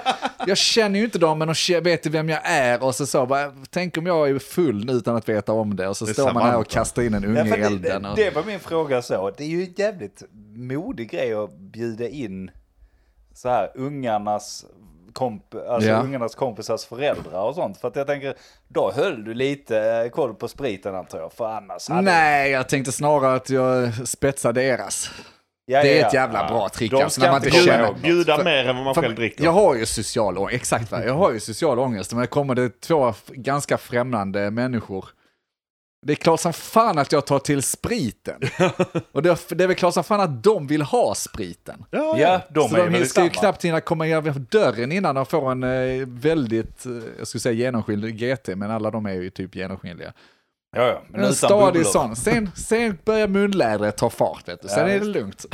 Speaker 1: Jag känner ju inte dem, men de ke- vet ju vem jag är. Och så, så bara, tänk om jag är full nu utan att veta om det. Och så
Speaker 3: är
Speaker 1: står man här och
Speaker 3: Samantha.
Speaker 1: kastar in en
Speaker 2: Ja,
Speaker 1: unge
Speaker 2: för
Speaker 1: i
Speaker 2: det,
Speaker 1: elden.
Speaker 2: det,
Speaker 1: Och...
Speaker 2: det var min fråga så. Det är ju en jävligt modig grej att bjuda in så här ungarnas, komp, alltså
Speaker 1: Ja.
Speaker 2: ungarnas kompisars föräldrar och sånt. För att jag tänker, då höll du lite eh, koll på spriten antar jag. För annars hade
Speaker 1: Nej, jag tänkte snarare att jag spetsar deras.
Speaker 2: Ja,
Speaker 1: Det
Speaker 2: ja,
Speaker 1: är ett
Speaker 2: ja.
Speaker 1: jävla bra trick
Speaker 2: De
Speaker 1: alltså,
Speaker 2: ska
Speaker 1: när man
Speaker 2: inte
Speaker 1: inte
Speaker 2: komma
Speaker 1: känner
Speaker 2: ihåg.
Speaker 3: Bjuda mer än vad man
Speaker 1: För-
Speaker 3: själv dricker.
Speaker 1: Jag har ju social ångest, exakt va? Jag har ju social ångest. Men jag kommer det två f- ganska främmande människor. Det är klart som fan att jag tar till spriten. Och det är, det är väl klart som fan att de vill ha spriten.
Speaker 3: Ja,
Speaker 2: Ja, de
Speaker 1: Så
Speaker 2: är
Speaker 1: de
Speaker 2: väl
Speaker 1: ska ju
Speaker 2: samma.
Speaker 1: knappt hinna komma igenom dörren innan de får en eh, väldigt, eh, jag skulle säga genomskinlig GT, men alla de är ju typ genomskinliga.
Speaker 2: Ja, ja. Men
Speaker 1: En
Speaker 2: utan
Speaker 1: stadig
Speaker 2: bubblor.
Speaker 1: sån. Sen, sen börjar munlädret ta fart, vet du. sen
Speaker 2: Ja,
Speaker 1: är det lugnt.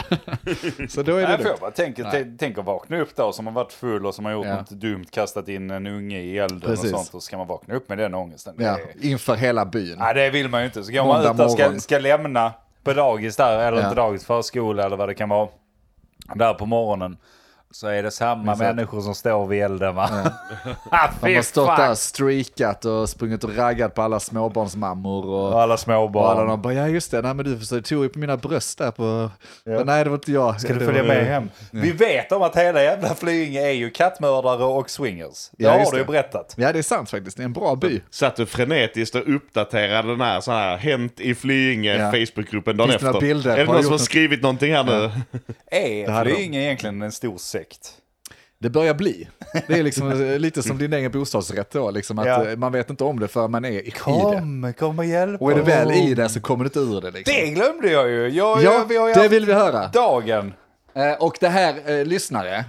Speaker 1: Så då är det
Speaker 2: Nej, för
Speaker 1: lugnt.
Speaker 2: jag bara tänker, tänk- tänk att vakna upp då som har varit full och som har gjort
Speaker 1: Ja.
Speaker 2: något dumt, kastat in en unge i elden
Speaker 1: Precis.
Speaker 2: och sånt. Och så ska man vakna upp med den ångesten.
Speaker 1: Ja,
Speaker 2: Det,
Speaker 1: inför hela byn.
Speaker 2: nej, det vill man ju inte. Så går man
Speaker 1: Måndag
Speaker 2: ut och ska,
Speaker 1: morgon.
Speaker 2: ska lämna på dagis där, eller
Speaker 1: Ja.
Speaker 2: inte dagis, förskola eller vad det kan vara. Där på morgonen. Så är det samma
Speaker 1: Exakt.
Speaker 2: människor som står vid elden va? ah,
Speaker 1: De
Speaker 2: fy
Speaker 1: har stått
Speaker 2: fan!
Speaker 1: där streakat och sprungit och raggat på alla småbarnsmammor och,
Speaker 2: Och alla
Speaker 1: och alla
Speaker 2: småbarn.
Speaker 1: de bara, ja just det, nej men du försökte- tog ju på mina bröst där på... Men nej det var inte jag.
Speaker 2: Ska
Speaker 1: Det
Speaker 2: du följa
Speaker 1: var-
Speaker 2: med hem? Vi vet om att hela jävla Flyinge är ju kattmördare och swingers. Det
Speaker 1: Ja,
Speaker 2: har
Speaker 1: just
Speaker 2: du ju
Speaker 1: det.
Speaker 2: berättat.
Speaker 1: Ja det är sant faktiskt, det är en bra by.
Speaker 3: Satt du frenetiskt och uppdaterade den här så här hänt i Flyinge
Speaker 1: Ja.
Speaker 3: Facebookgruppen dagen
Speaker 1: Finns det några
Speaker 3: efter.
Speaker 1: bilder?
Speaker 3: Är det
Speaker 1: Har
Speaker 3: någon
Speaker 1: du
Speaker 3: som har
Speaker 1: gjort något?
Speaker 3: skrivit någonting här nu?
Speaker 2: Är
Speaker 1: hade de.
Speaker 2: Flyinge egentligen en stor sekt?
Speaker 1: Det börjar bli. Det är liksom eh, lite som din egen bostadsrätt då, liksom att
Speaker 2: Ja.
Speaker 1: eh, man vet inte om det förrän man är i det.
Speaker 2: Kom, kom och hjälp
Speaker 1: Och är det
Speaker 2: oss.
Speaker 1: väl i det så kommer du inte ur det liksom.
Speaker 2: Det glömde jag ju.
Speaker 1: Ja,
Speaker 2: Jag, jag, vi har ju
Speaker 1: det
Speaker 2: haft
Speaker 1: vill vi höra.
Speaker 2: dagen.
Speaker 1: Eh, Och det här, eh, lyssnare.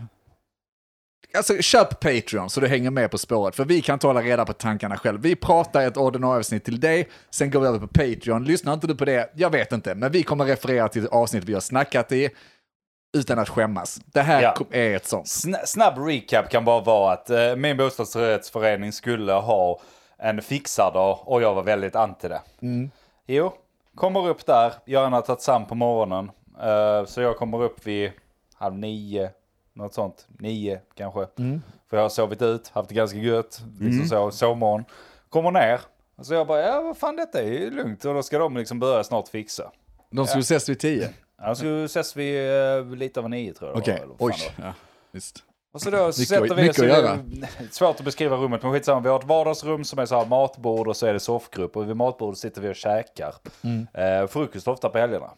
Speaker 1: Alltså köp Patreon så du hänger med på spåret, för vi kan inte hålla reda på tankarna själv. Vi pratar ett ordinarie avsnitt till dig, sen går vi över på Patreon. Lyssnar inte du på det, jag vet inte, men vi kommer referera till ett avsnitt vi har snackat i utan att skämmas. Det här
Speaker 2: Ja.
Speaker 1: kom- är ett sånt.
Speaker 2: Sna- snabb recap kan bara vara att eh, min bostadsrättsförening skulle ha en fixardag och jag var väldigt anti det.
Speaker 1: Mm.
Speaker 2: Jo, kommer upp där. Göran har tagit sam på morgonen. Eh, så jag kommer upp vid halv nio, något sånt. Nio kanske.
Speaker 1: Mm.
Speaker 2: För jag har sovit ut, haft det ganska gött. Liksom så, sovmorgon. Kommer ner. Så jag bara, ja vad fan detta är ju lugnt. Och då ska de liksom börja snart fixa.
Speaker 1: De skulle ses vid tio.
Speaker 2: Ja, så ses vi eh, lite över nio tror jag. det var,
Speaker 1: Okej,
Speaker 2: eller vad
Speaker 1: oj.
Speaker 2: fan det var.
Speaker 1: Ja, visst.
Speaker 2: Och så då
Speaker 1: Mycket-
Speaker 2: sätter vi
Speaker 1: mycket
Speaker 2: så
Speaker 1: att göra.
Speaker 2: det är Svårt att beskriva rummet, men skitsamma. Vi har ett vardagsrum som är så här matbord och så är det soffgrupp. Och vid matbordet sitter vi och käkar.
Speaker 1: Mm.
Speaker 2: Eh, frukost ofta på helgerna.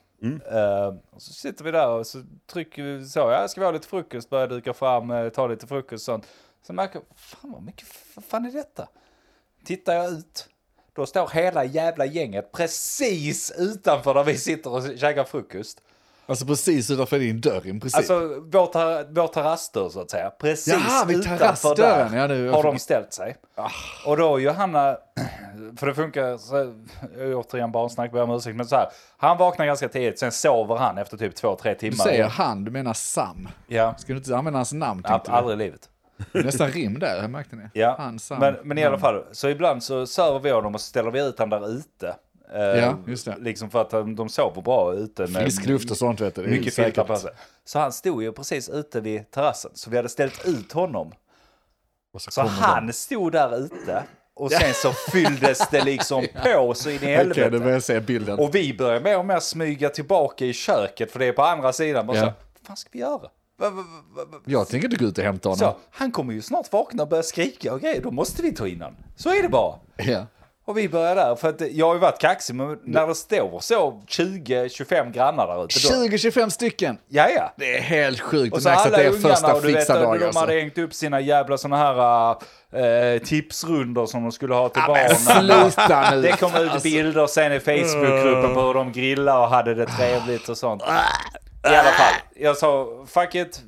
Speaker 2: Eh, och så sitter vi där och så trycker vi så. Ja, ska vi ha lite frukost? Börjar duka fram, eh, ta lite frukost och sånt. Så märker jag, fan vad mycket, vad fan är detta? Tittar jag ut. Då står hela jävla gänget precis utanför där vi sitter och käkar frukost.
Speaker 1: Alltså precis utanför din dörr, i princip.
Speaker 2: Alltså vår, tar, vår terrassdörr så att säga. Precis
Speaker 1: Jaha, vid
Speaker 2: utanför
Speaker 1: terrassdörren.
Speaker 2: där
Speaker 1: Ja, nu- Ah.
Speaker 2: har de ställt sig. Och då Johanna, för det funkar, så, återigen barnsnack, ber om ursäkt, men så här. Han vaknar ganska tidigt, sen sover han efter typ två, tre
Speaker 1: du
Speaker 2: timmar.
Speaker 1: säger han, du menar Sam.
Speaker 2: Ja,
Speaker 1: Ska du inte använda hans namn?
Speaker 2: Ab-
Speaker 1: Tänkte du?
Speaker 2: aldrig i livet.
Speaker 1: Nästan rim där, jag märkte ni?
Speaker 2: Ja,
Speaker 1: Han, Sam.
Speaker 2: men, men i alla fall, så ibland så servar vi honom och så ställer vi ut han där ute. Eh,
Speaker 1: Ja, just det.
Speaker 2: Liksom för att de, de sover bra ute. med-
Speaker 1: Frisk luft och sånt vet du. Det är
Speaker 2: Äh, mycket
Speaker 1: säkert.
Speaker 2: filtar på alltså. sig. Så han stod ju precis ute vid terrassen. Så vi hade ställt ut honom.
Speaker 1: Och så
Speaker 2: Så
Speaker 1: kommer de.
Speaker 2: han stod där ute. Och sen så fylldes det liksom på så in i
Speaker 1: Okej,
Speaker 2: helvete.
Speaker 1: nu börjar jag se bilden.
Speaker 2: Och vi börjar mer och mer smyga tillbaka i köket. För det är på andra sidan. Bara
Speaker 1: Ja.
Speaker 2: så, vad fan ska vi göra? Va, va, va, va?
Speaker 1: Jag tänker inte gå ut och hämta honom.
Speaker 2: Så, han kommer ju snart vakna och börja skrika och grejer. Då måste vi ta in honom. Så är det bara.
Speaker 1: Ja.
Speaker 2: Och vi börjar där. För att jag har ju varit kaxig. Men när det står så 20-25 grannar där ute. då-
Speaker 1: 20-25 stycken!
Speaker 2: Ja, ja.
Speaker 1: Det är helt sjukt.
Speaker 2: Och
Speaker 1: Och
Speaker 2: så
Speaker 1: det märks att
Speaker 2: alla
Speaker 1: det är
Speaker 2: ungarna
Speaker 1: första
Speaker 2: och du vet,
Speaker 1: fixa
Speaker 2: de
Speaker 1: dag
Speaker 2: hade
Speaker 1: alltså.
Speaker 2: hängt upp sina jävla såna här äh, tipsrundor som de skulle ha till barnen.
Speaker 1: Sluta Alltså. nu!
Speaker 2: Det kom ut bilder sen i Facebookgruppen på hur de grillade och hade det trevligt och sånt. I alla fall, jag sa fuck it.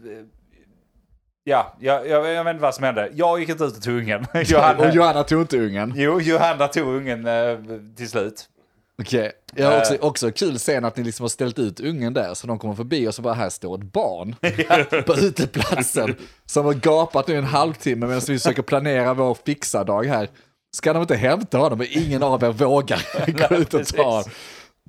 Speaker 2: Ja, jag, jag, jag vet inte vad som hände. Jag gick inte ut och tog ungen.
Speaker 1: Och
Speaker 2: Johanna,
Speaker 1: Johanna tog inte ungen.
Speaker 2: jo, Johanna tog ungen eh, till slut.
Speaker 1: Okej. Jag har
Speaker 2: Äh.
Speaker 1: också, också kul sen att ni liksom har ställt ut ungen där, så de kommer förbi och så bara här står ett barn på uteplatsen som har gapat nu en halvtimme medan vi försöker planera vår fixardag här. Ska de inte hämta honom? Men ingen av er vågar gå ut och ta honom.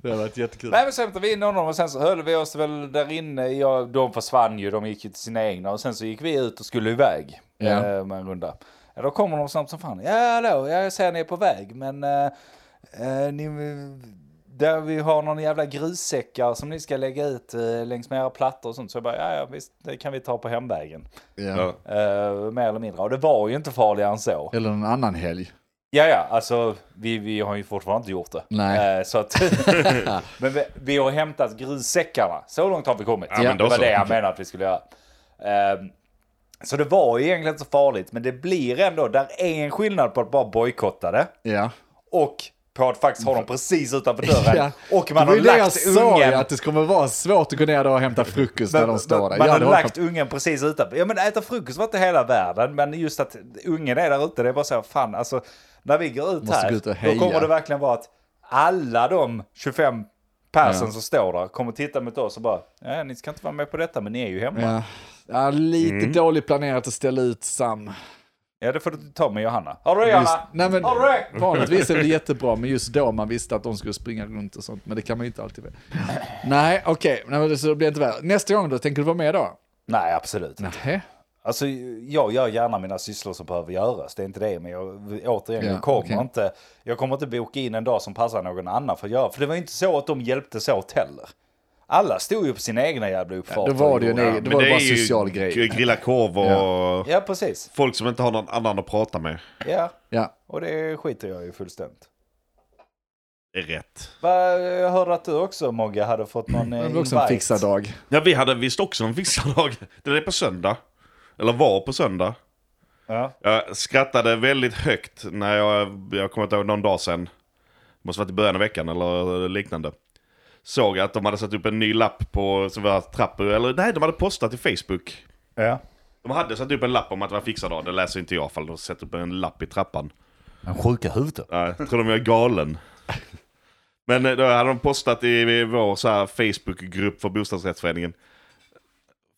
Speaker 1: Det har varit jättekul.
Speaker 2: Nej men så hämtade vi in honom och sen så höll vi oss väl där inne. Ja, de försvann ju, de gick ju till sina egna och sen så gick vi ut och skulle iväg
Speaker 1: Ja.
Speaker 2: eh, med en runda. Ja, då kommer de snabbt som fan. Ja hallå, ja, jag ser ni är på väg men eh, eh, ni, där vi har någon jävla grussäckar som ni ska lägga ut eh, längs med era plattor och sånt. Så jag bara, ja, ja visst, det kan vi ta på hemvägen.
Speaker 1: Ja.
Speaker 3: Ja.
Speaker 2: Eh, mer eller mindre. Och det var ju inte farligare än så.
Speaker 1: Eller någon annan helg.
Speaker 2: Ja, ja, alltså vi, vi har ju fortfarande inte gjort det.
Speaker 1: Nej.
Speaker 2: Eh, så att, men vi, vi har hämtat grussäckarna. Så långt har vi kommit.
Speaker 3: Ja, men
Speaker 2: det
Speaker 3: då
Speaker 2: var
Speaker 3: så.
Speaker 2: det jag menade att vi skulle göra. Ehm, så det var ju egentligen inte så farligt, men det blir ändå, där är en skillnad på att bara bojkotta det
Speaker 1: Ja.
Speaker 2: och på att faktiskt ha dem precis utanför dörren. Och man
Speaker 1: Mm. det var ju
Speaker 2: har
Speaker 1: det jag
Speaker 2: lagt
Speaker 1: sa ju,
Speaker 2: ungen
Speaker 1: att det kommer vara svårt att gå ner där och hämta frukost när de står där.
Speaker 2: man
Speaker 1: Ja,
Speaker 2: har
Speaker 1: det var
Speaker 2: lagt ungen precis utanför. Ja men äta frukost var inte hela världen, men just att ungen är där ute, det är bara så här, fan alltså. När vi går ut
Speaker 1: Måste
Speaker 2: här,
Speaker 1: gå ut och
Speaker 2: då
Speaker 1: heja.
Speaker 2: kommer det verkligen vara att alla de 25 personer
Speaker 1: Ja.
Speaker 2: som står där kommer titta mot oss och bara, ja, ni ska inte vara med på detta, men ni är ju hemma. Ja,
Speaker 1: Ja. Ja, lite dåligt planerat att ställa ut Sam.
Speaker 2: det får du ta med Johanna. Har du Johanna?
Speaker 1: Nej, men,
Speaker 2: All right.
Speaker 1: Vanligtvis är det jättebra, men just då man visste att de skulle springa runt och sånt. Men det kan man ju inte alltid veta. Nej, okej, Nej, men det- så det blir inte värre. Nästa gång då, tänker du vara med då?
Speaker 2: Nej, absolut inte.
Speaker 1: Nej.
Speaker 2: Alltså, jag gör gärna mina sysslor som behöver göras, det är inte det. Men jag, återigen,
Speaker 1: Ja,
Speaker 2: jag, kommer
Speaker 1: okej.
Speaker 2: inte, jag kommer inte boka in en dag som passar någon annan för att göra. För det var ju inte så att de hjälptes åt heller. Alla stod ju på sina egna jävla uppfarter.
Speaker 1: då var det ju
Speaker 2: och-
Speaker 1: en egen-
Speaker 3: Men
Speaker 1: det var bara
Speaker 3: är ju
Speaker 1: social grej.
Speaker 3: g- Grilla korv och
Speaker 2: Ja, precis.
Speaker 3: folk som inte har någon annan att prata med.
Speaker 2: Ja,
Speaker 1: Ja.
Speaker 2: och det skiter jag ju fullständigt.
Speaker 3: Det är rätt.
Speaker 2: Va, jag hörde att du också, Mogge, hade fått någon
Speaker 1: Det
Speaker 2: eh, invite.
Speaker 1: var också en fixardag.
Speaker 3: Ja, vi hade visst också en fixardag. Den är på söndag. Eller var på söndag.
Speaker 2: Ja.
Speaker 3: Jag skrattade väldigt högt när jag, jag kommer inte ihåg, någon dag sedan. Måste varit i början av veckan eller liknande. Såg att de hade satt upp en ny lapp på, som var trappor, eller nej, de hade postat i Facebook.
Speaker 2: ja.
Speaker 3: De hade satt upp en lapp om att det var fixardag, det läser inte jag i alla fall. De satte upp en lapp i trappan.
Speaker 2: En sjuka huvudet.
Speaker 3: Ja, Jag tror de är galen. Men eh, då hade de postat i i vår så här Facebookgrupp för bostadsrättsföreningen.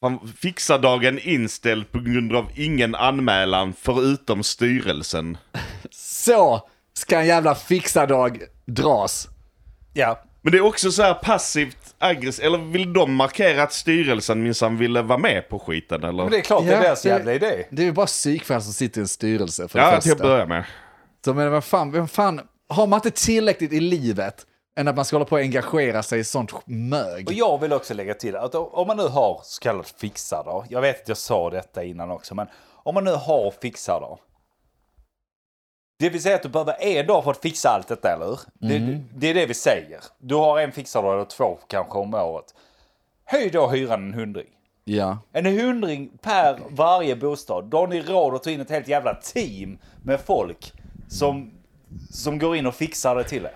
Speaker 3: Man fixar dagen inställd på grund av ingen anmälan förutom styrelsen.
Speaker 1: Så ska en jävla fixardag dras.
Speaker 2: Ja.
Speaker 3: Men det är också så här passivt aggressivt. Eller vill de markera att styrelsen minsann ville vara med på skiten eller?
Speaker 2: Men det är klart, det är
Speaker 1: Ja,
Speaker 2: deras
Speaker 1: det-
Speaker 2: jävla idé.
Speaker 1: Det är ju bara psykfall som sitter i en styrelse för det
Speaker 3: ja, till
Speaker 1: första.
Speaker 3: att börja med.
Speaker 1: Så men vad fan, vem fan, har man inte tillräckligt i livet än att man ska hålla på och engagera sig i sånt mög?
Speaker 2: Och jag vill också lägga till att om man nu har så kallad fixardag. Jag vet att jag sa detta innan också, men om man nu har fixardag. Det vill säga att du behöver en dag för att fixa allt detta, eller hur? Det, det är det vi säger. Du har en fixardag eller två kanske om året. Höj då hyran en hundring.
Speaker 1: Ja.
Speaker 2: En hundring per varje bostad. Då har ni råd att ta in ett helt jävla team med folk som, som går in och fixar det till er.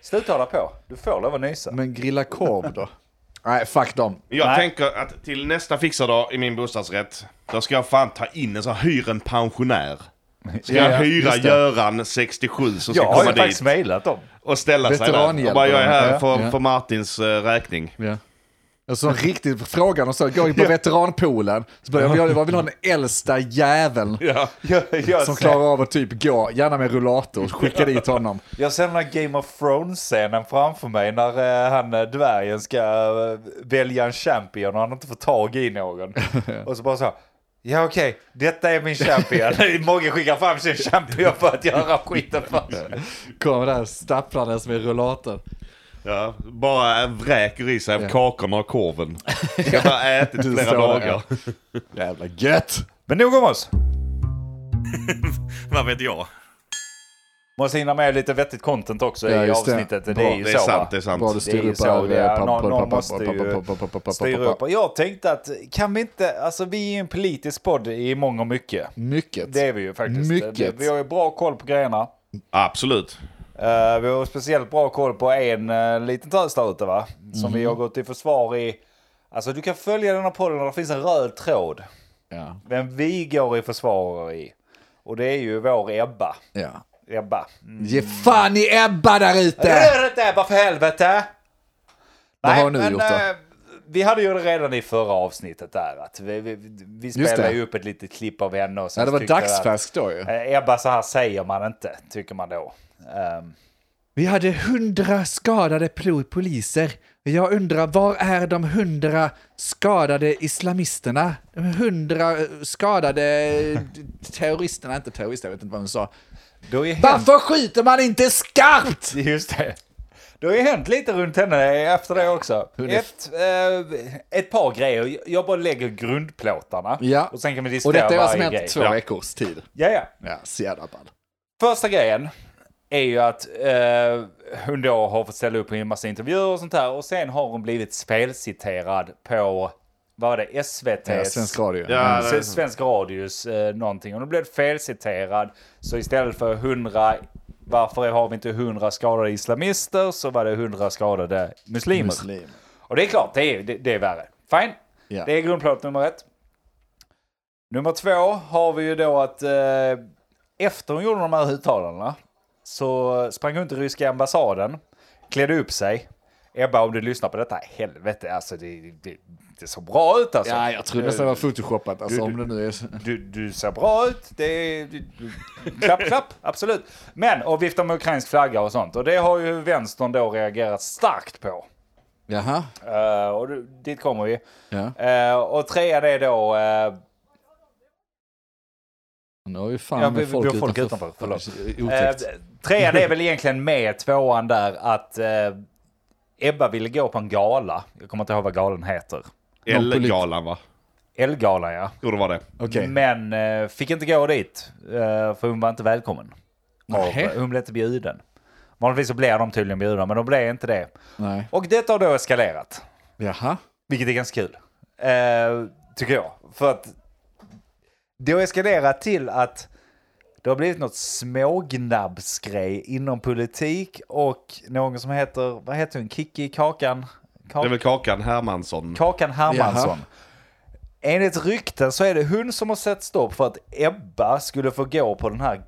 Speaker 2: Sluta hålla på. Du får lov att nysa.
Speaker 1: Men grilla korv då? Nej, fuck dem.
Speaker 3: Jag
Speaker 2: Nej.
Speaker 3: tänker att till nästa fixardag i min bostadsrätt, då ska jag fan ta in en sån här hyr en pensionär. Ska
Speaker 1: Ja,
Speaker 3: jag hyra
Speaker 1: just det.
Speaker 3: Göran, 67, som ska
Speaker 2: Jag har
Speaker 3: komma
Speaker 2: ju faktiskt
Speaker 3: dit
Speaker 2: mejlat dem.
Speaker 3: och ställa sig där.
Speaker 1: Veteranhjälp
Speaker 3: Och bara, jag är
Speaker 1: eller
Speaker 3: här
Speaker 1: något, ja.
Speaker 3: för,
Speaker 1: Ja.
Speaker 3: för Martins eh, räkning.
Speaker 1: Ja. Alltså en riktig frågan och så, går in på veteranpoolen, så börjar jag, jag vill ha den äldsta jäveln
Speaker 3: Ja.
Speaker 2: Jag, jag,
Speaker 1: som
Speaker 2: ser,
Speaker 1: klarar av att typ gå, gärna med rullator, skicka dit honom.
Speaker 2: jag ser den här Game of Thrones-scenen framför mig när eh, han eh, dvärgen ska eh, välja en champion och han inte får tag i någon. och så bara så här, ja okej, detta är min champion. Många skickar fram sin champion för att göra skiten först.
Speaker 1: Kommer där stapplandes med rullator.
Speaker 3: Ja, bara vräker i sig av
Speaker 1: Ja.
Speaker 3: kakorna och korven. Jag har ätit
Speaker 1: Du sa
Speaker 3: flera
Speaker 1: det,
Speaker 3: dagar.
Speaker 1: Jävla gött!
Speaker 2: Men nog om oss.
Speaker 3: Vad vet jag?
Speaker 2: Måste hinna med lite vettigt content också
Speaker 1: Ja,
Speaker 2: i
Speaker 1: just det.
Speaker 2: avsnittet. Det,
Speaker 1: Bra,
Speaker 2: är ju
Speaker 3: Det är
Speaker 2: så
Speaker 3: sant,
Speaker 2: va?
Speaker 3: det är
Speaker 1: Bara
Speaker 3: sant.
Speaker 1: du
Speaker 2: Det är
Speaker 1: styr
Speaker 2: ju
Speaker 1: upp
Speaker 2: så
Speaker 1: här.
Speaker 2: det är.
Speaker 1: eh,
Speaker 2: Någon-
Speaker 1: pappa,
Speaker 2: någon
Speaker 1: pappa,
Speaker 2: måste ju
Speaker 1: pappa, pappa, pappa, pappa,
Speaker 2: Styr
Speaker 1: pappa.
Speaker 2: upp. Och Jag tänkte att kan vi inte, alltså vi är ju en politisk podd i mångt och mycket.
Speaker 1: Mycket.
Speaker 2: Det är vi ju faktiskt.
Speaker 1: Mycket.
Speaker 2: Det- Vi har ju bra koll på grejerna.
Speaker 3: Absolut.
Speaker 2: Eh, vi har speciellt bra koll på en eh, liten tös där ute va? Som
Speaker 1: Mhm.
Speaker 2: vi har gått i försvar i. Alltså du kan följa den här podden och det finns en röd tråd.
Speaker 1: Ja.
Speaker 2: Vem vi går i försvar i. Och det är ju vår Ebba.
Speaker 1: Ja.
Speaker 2: Ebba.
Speaker 1: Ge fan i Ebba där ute!
Speaker 2: Rör inte Ebba för helvete!
Speaker 1: Vad har ni gjort då?
Speaker 2: eh, Vi hade ju det redan i förra avsnittet där. Att vi, vi, vi spelade
Speaker 1: det.
Speaker 2: ju upp ett litet klipp av henne. Och sen
Speaker 1: Ja, det var
Speaker 2: tyckte jag
Speaker 1: dagsfärskt då ju.
Speaker 2: att, eh, Ebba, så här säger man inte, tycker man då. Ehm,
Speaker 1: Vi hade hundra skadade pol- poliser. Jag undrar, var är de hundra skadade islamisterna? De hundra eh, skadade eh, terroristerna, inte terrorister, jag vet inte vad hon sa.
Speaker 2: då är hen-
Speaker 1: Varför skjuter man inte skarpt?
Speaker 2: Just det. Det har ju hänt lite runt henne efter det också.
Speaker 1: Hunnit.
Speaker 2: Ett, eh, ett par grejer. Jag bara lägger grundplåtarna.
Speaker 1: Ja.
Speaker 2: Och sen kan vi
Speaker 1: Och
Speaker 2: diskutera
Speaker 1: detta är vad som
Speaker 2: varje
Speaker 1: hänt
Speaker 2: grej.
Speaker 1: två
Speaker 3: Ja.
Speaker 1: veckors tid.
Speaker 2: Ja, ja.
Speaker 1: Ja, så jävla ball.
Speaker 2: Första grejen är ju att eh, hon då har fått ställa upp i en massa intervjuer och sånt här. Och sen har hon blivit spelciterad på, vad var det, SVTs?
Speaker 1: Ja, Svensk Radio.
Speaker 3: Ja,
Speaker 2: Så Svensk Radios eh, någonting. Och då blev det felciterad. Så istället för 100, varför har vi inte 100 skadade islamister? Så var det 100 skadade muslimer.
Speaker 1: Muslim.
Speaker 2: Och det är klart, det är, det, det är värre. Fine.
Speaker 1: Ja.
Speaker 2: Det är grundplåt nummer ett. Nummer två har vi ju då att eh, efter hon gjorde de här uttalandena så sprang hon till ryska ambassaden, klädde upp sig. Ebba, om du lyssnar på detta, helvete alltså det, det, det såg bra ut alltså.
Speaker 1: Ja, jag tror nästan det var photoshoppat. Alltså, om det nu är så.
Speaker 2: Du, du ser bra ut. Det är... du- du- Klapp, klapp. Absolut. Men, och vifta med ukrainsk flagga och sånt. Och det har ju vänstern då reagerat starkt på.
Speaker 1: Jaha.
Speaker 2: Eh, och du- dit kommer vi.
Speaker 1: Ja.
Speaker 2: Eh, och trean är då... eh,
Speaker 1: Nu har vi fan
Speaker 2: Ja, vi-
Speaker 1: med
Speaker 2: vi
Speaker 1: folk,
Speaker 2: har folk utanför, eh,
Speaker 1: Otäckt.
Speaker 2: trean är väl egentligen med tvåan där att eh, Ebba ville gå på en gala. Jag kommer inte ihåg vad galan heter.
Speaker 3: Elgalan va?
Speaker 2: Elgalan ja.
Speaker 3: Tror det var det.
Speaker 1: Okej.
Speaker 2: Men eh, fick inte gå dit. eh, för hon var inte välkommen.
Speaker 1: Nähä.
Speaker 2: Och Hon blev inte bjuden. Vanligtvis så blir de tydligen bjudna, men de blev inte det.
Speaker 1: Nej.
Speaker 2: Och detta har då eskalerat.
Speaker 1: Jaha.
Speaker 2: Vilket är ganska kul. Eh, tycker jag. För att det har eskalerat till att det har blivit något smågnabbsgrej inom politik och någon som heter, vad heter hon, Kikki Kakan?
Speaker 3: Det är
Speaker 2: Ka-
Speaker 3: väl Kakan Hermansson.
Speaker 2: Kakan Hermansson. Enligt rykten så är det hon som har sett stopp för att Ebba skulle få gå på den här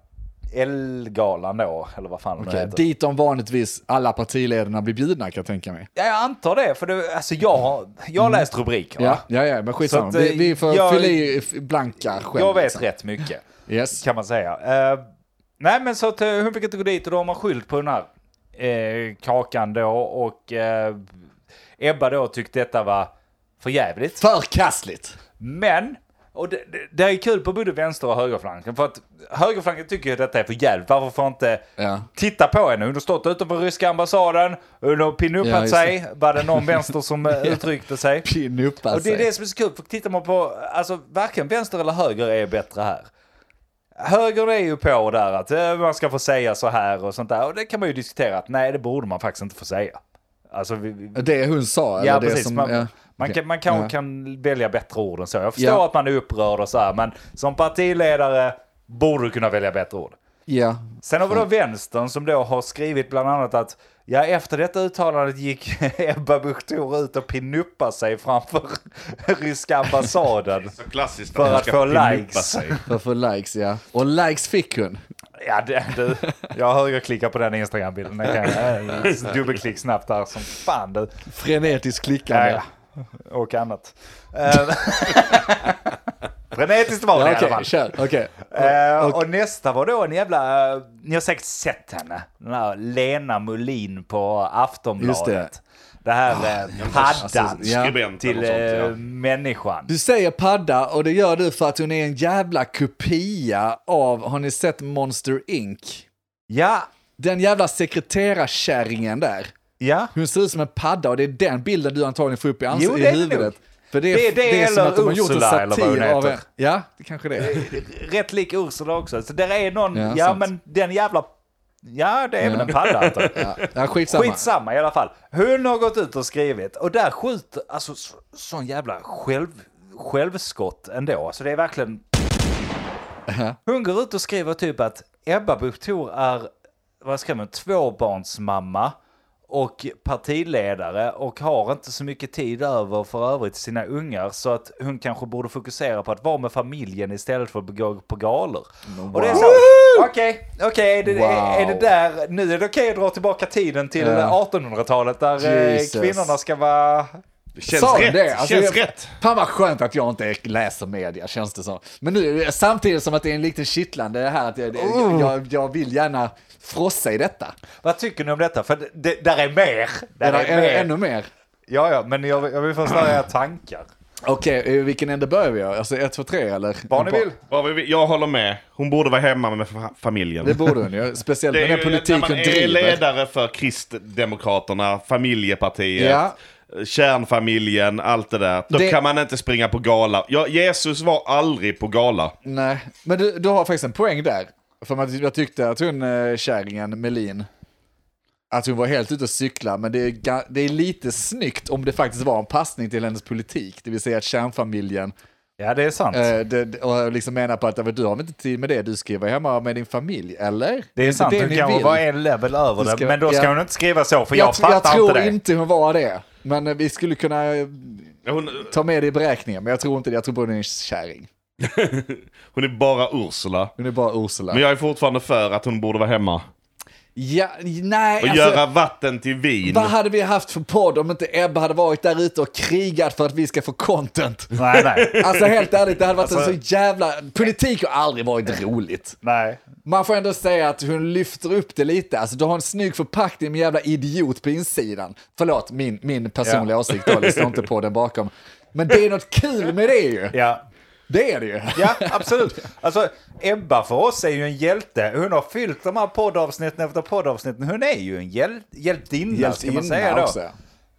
Speaker 2: Elgalan då, eller vad fan det
Speaker 1: Okej,
Speaker 2: heter.
Speaker 1: dit de vanligtvis alla partiledarna blir bjudna kan jag tänka mig.
Speaker 2: Ja, jag antar det, för det, alltså jag har jag har läst rubriker. va?
Speaker 1: Mm. Ja, ja, ja men skitsamma.
Speaker 2: Så att, eh,
Speaker 1: vi, vi får
Speaker 2: jag-
Speaker 1: fylla i f- blanka själv.
Speaker 2: Jag vet
Speaker 1: liksom.
Speaker 2: rätt mycket,
Speaker 1: Yes.
Speaker 2: kan man säga. Eh, nej, men så att eh, hon fick inte gå dit och då har man skyllt på den här eh, kakan då och eh, Ebba då tyckte detta var för jävligt.
Speaker 1: Förkastligt.
Speaker 2: Men, och det, det, det är kul på både vänster och högerflanken. För att högerflanken tycker ju att detta är för jävligt. Varför får inte
Speaker 1: Ja.
Speaker 2: titta på henne? Hon har stått utanför ryska ambassaden, hon har
Speaker 1: Ja,
Speaker 2: pinuppat
Speaker 1: just
Speaker 2: sig. Var det någon vänster som eh, uttryckte sig?
Speaker 1: Pinuppa
Speaker 2: Och det är
Speaker 1: sig.
Speaker 2: det som är så kul, för tittar man på, alltså varken vänster eller höger är bättre här. Högern är ju på där att eh, man ska få säga så här och sånt där. Och det kan man ju diskutera att nej, det borde man faktiskt inte få säga. Alltså, vi, vi,
Speaker 1: Det hon sa, eller
Speaker 2: ja,
Speaker 1: det
Speaker 2: precis.
Speaker 1: som...
Speaker 2: man,
Speaker 1: ja.
Speaker 2: man,
Speaker 1: Okej.
Speaker 2: kan, man kan,
Speaker 1: Ja.
Speaker 2: kan välja bättre ord än så. Jag förstår
Speaker 1: Ja.
Speaker 2: att man är upprörd och så här, men som partiledare borde du kunna välja bättre ord.
Speaker 1: Ja.
Speaker 2: Sen har vi då vänstern som då har skrivit bland annat att ja, efter detta uttalandet gick Ebba Busch Thor ut och pinuppade sig framför ryska ambassaden.
Speaker 3: Så klassiskt
Speaker 2: För
Speaker 3: man
Speaker 2: att
Speaker 3: ska
Speaker 2: få
Speaker 3: pinuppa
Speaker 2: likes.
Speaker 3: sig.
Speaker 1: För att få likes, ja. Och likes fick hon.
Speaker 2: Ja, det, du. Jag högerklickar på den Instagram-bilden. Den kan jag- Dubbelklick snabbt där som fan du.
Speaker 1: Frenetiskt
Speaker 2: Ja,
Speaker 1: klickande.
Speaker 2: ja. och annat. Eh, Frenetiskt var det i
Speaker 1: okej,
Speaker 2: alla fall.
Speaker 1: kör. Okej.
Speaker 2: Eh, och nästa var då en jävla, eh, ni har säkert sett henne, den här Lena Molin på Aftonbladet.
Speaker 1: Just det. Ah,
Speaker 2: Det här eh, paddan
Speaker 1: Alltså, Ja.
Speaker 3: Skribenten
Speaker 2: till
Speaker 3: och sånt, ja.
Speaker 2: eh, människan.
Speaker 1: Du säger padda och det gör du för att hon är en jävla kopia av, har ni sett Monster Inc?
Speaker 2: Ja,
Speaker 1: Den jävla sekreterarkärringen där.
Speaker 2: ja.
Speaker 1: Hon ser ut som en padda och det är den bilden du antagligen får upp i, ans-
Speaker 2: Jo, det
Speaker 1: i
Speaker 2: är det
Speaker 1: huvudet.
Speaker 2: nog.
Speaker 1: För det är,
Speaker 2: Det är det eller Ursula, eller vad hon heter.
Speaker 1: en- Ja, det kanske det är.
Speaker 2: Rätt lik Ursula också. Så där är någon,
Speaker 1: Ja,
Speaker 2: ja,
Speaker 1: sant.
Speaker 2: men den jävla, ja det är väl en padda antar jag.
Speaker 1: Ja, ja, skitsamma.
Speaker 2: Skitsamma i alla fall. Hon har gått ut och skrivit och där skjuter, alltså så, sån jävla själv, självskott ändå. Alltså det är verkligen... Hon går ut och skriver typ att Ebba Busch Thor är, vad skrev hon, tvåbarnsmamma och partiledare och har inte så mycket tid över för övrigt till sina ungar så att hon kanske borde fokusera på att vara med familjen istället för att gå på galor. Och det är så, okej, okej, är, det- är, är det
Speaker 1: Wow.
Speaker 2: där, nu är det okej att dra tillbaka tiden till
Speaker 1: Ja.
Speaker 2: 1800-talet där eh,
Speaker 1: Jesus.
Speaker 2: kvinnorna ska vara...
Speaker 3: Det känns
Speaker 1: eh, Sa
Speaker 3: rätt.
Speaker 1: det? Alltså,
Speaker 3: känns
Speaker 1: jag-
Speaker 3: rätt.
Speaker 1: Fan vad skönt att jag inte läser media, känns det som. Men nu, samtidigt som att det är en liten kittlande här, att jag,
Speaker 2: Oh.
Speaker 1: jag, jag, jag vill gärna frossa i detta.
Speaker 2: Vad tycker ni om detta? För det, det, där är mer.
Speaker 1: Är
Speaker 2: Där är,
Speaker 1: det, är det
Speaker 2: mer.
Speaker 1: ännu mer?
Speaker 2: Ja, ja, men jag, jag vill först höra era tankar.
Speaker 1: Okej, eh, vilken ände börjar vi göra? Alltså 1, 2, 3 eller?
Speaker 2: Vad ni vill.
Speaker 3: Vad vi vill- Jag håller med. Hon borde vara hemma med fa- familjen.
Speaker 1: Det borde hon ju, speciellt
Speaker 3: Det
Speaker 1: med
Speaker 3: är
Speaker 1: den
Speaker 3: ju
Speaker 1: politik
Speaker 3: när man
Speaker 1: hon
Speaker 3: är
Speaker 1: driver.
Speaker 3: ledare för Kristdemokraterna, familjepartiet,
Speaker 1: Ja.
Speaker 3: kärnfamiljen, allt det där. Då
Speaker 1: Det-
Speaker 3: kan man inte springa på gala. Ja, Jesus var aldrig på gala.
Speaker 1: Nej, men du, du har faktiskt en poäng där. För man, jag tyckte att hon, eh, kärringen Melin, att hon var helt ute och cykla, men det är, ga- det är lite snyggt om det faktiskt var en passning till hennes politik, det vill säga att kärnfamiljen
Speaker 2: Ja, det är sant.
Speaker 1: Eh, det, det- och liksom menar på att ja, men du har väl inte tid med det, du ska ju vara hemma med din familj, eller?
Speaker 2: det är
Speaker 1: inte
Speaker 2: sant.
Speaker 1: det
Speaker 2: hon
Speaker 1: ni
Speaker 2: kanske
Speaker 1: vill.
Speaker 2: var en level över
Speaker 1: Du
Speaker 2: det,
Speaker 1: ska-
Speaker 2: men då ska
Speaker 1: ja.
Speaker 2: hon inte skriva så, för jag,
Speaker 1: jag, tr- jag
Speaker 2: fattar
Speaker 1: tror
Speaker 2: inte det.
Speaker 1: inte hon var det, men eh, vi skulle kunna eh,
Speaker 3: Hon,
Speaker 1: ta med det i beräkningen, men jag tror inte det, jag tror bara hon är en kärring.
Speaker 3: hon är bara Ursula.
Speaker 1: Hon är bara Ursula.
Speaker 3: Men jag är fortfarande för att hon borde vara hemma.
Speaker 1: Ja, nej,
Speaker 3: Och
Speaker 1: alltså,
Speaker 3: göra vatten till vin.
Speaker 1: vad hade vi haft för podd om inte Ebba hade varit där ute och krigat för att vi ska få content?
Speaker 2: Nej, nej.
Speaker 1: Alltså helt ärligt, det hade varit en
Speaker 2: Alltså-
Speaker 1: så jävla... Politik har aldrig varit roligt.
Speaker 2: nej.
Speaker 1: Man får ändå säga att hon lyfter upp det lite. Alltså, du har en snygg förpackning med jävla idiot på insidan. Förlåt, min, min personliga
Speaker 2: Ja.
Speaker 1: åsikt då, det står inte på den bakom. Men det är något kul med det ju.
Speaker 2: Ja.
Speaker 1: Det är det ju.
Speaker 2: Ja, absolut. Alltså, Ebba för oss är ju en hjälte. Hon har fyllt de här poddavsnitten efter poddavsnitten. Hon är ju en hjäl hjältinna, ska man säga då.
Speaker 1: också.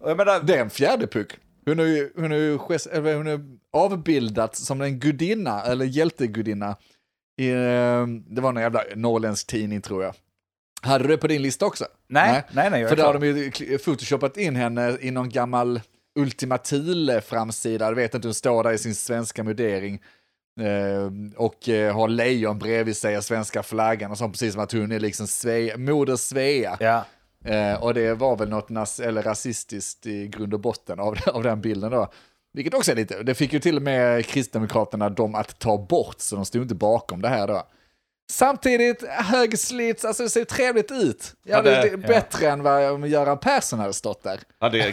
Speaker 2: Och Jag menar,
Speaker 1: Det är en fjärde puck. Hon är ju hon är ju gest, eller hon är avbildad som en gudinna, eller hjältegudinna. I, eh, det var någon jävla norrländsk tidning tror jag. Hade du det på din lista också?
Speaker 2: Nej, nej, nej, jag
Speaker 1: För
Speaker 2: är
Speaker 1: där
Speaker 2: klar.
Speaker 1: har de ju kli- photoshopat in henne i någon gammal Ultima Thule-framsida. Du vet inte, hon står där i sin svenska mudering eh, och eh, har lejon bredvid sig och svenska flaggan och sånt, precis som att hon är liksom Sve- moder Svea.
Speaker 2: ja.
Speaker 1: Eh, och det var väl något nas- eller rasistiskt i grund och botten av, av den bilden då. Vilket också är lite, det fick ju till och med Kristdemokraterna dem att ta bort, så de stod inte bakom det här då. Samtidigt, högslits, alltså det ser trevligt ut. Ja,
Speaker 3: Ja,
Speaker 1: det,
Speaker 3: det-
Speaker 1: är bättre än vad om Göran Persson hade stått där.
Speaker 3: Hade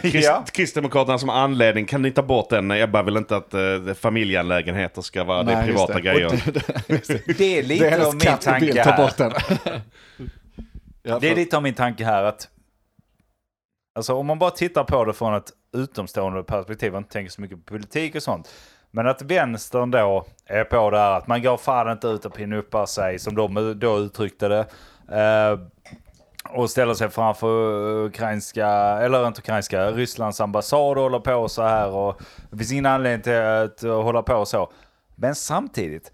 Speaker 3: krist,
Speaker 2: Ja.
Speaker 3: Kristdemokraterna som anledning, kan ni ta bort den? Ebba vill inte att eh, familjeanlägenheter ska vara det är
Speaker 1: Nej, just
Speaker 3: privata grejer.
Speaker 1: Och det, det
Speaker 2: Det är
Speaker 1: är
Speaker 2: lite om
Speaker 1: hennes
Speaker 2: min
Speaker 1: katt i bild,
Speaker 2: tanke
Speaker 1: ta
Speaker 2: här.
Speaker 1: bort den. Ja,
Speaker 2: Det är
Speaker 1: för-
Speaker 2: lite om min tanke här att... Alltså om man bara tittar på det från ett utomstående perspektiv och inte tänker så mycket på politik och sånt. Men att vänstern då är på det här att man går fan inte ut och pinuppar sig som de då uttryckte det. Eh, och ställer sig framför ukrainska, eller inte ukrainska, Rysslands ambassad och håller på så här. Och det finns ingen anledning till att hålla på så. Men samtidigt,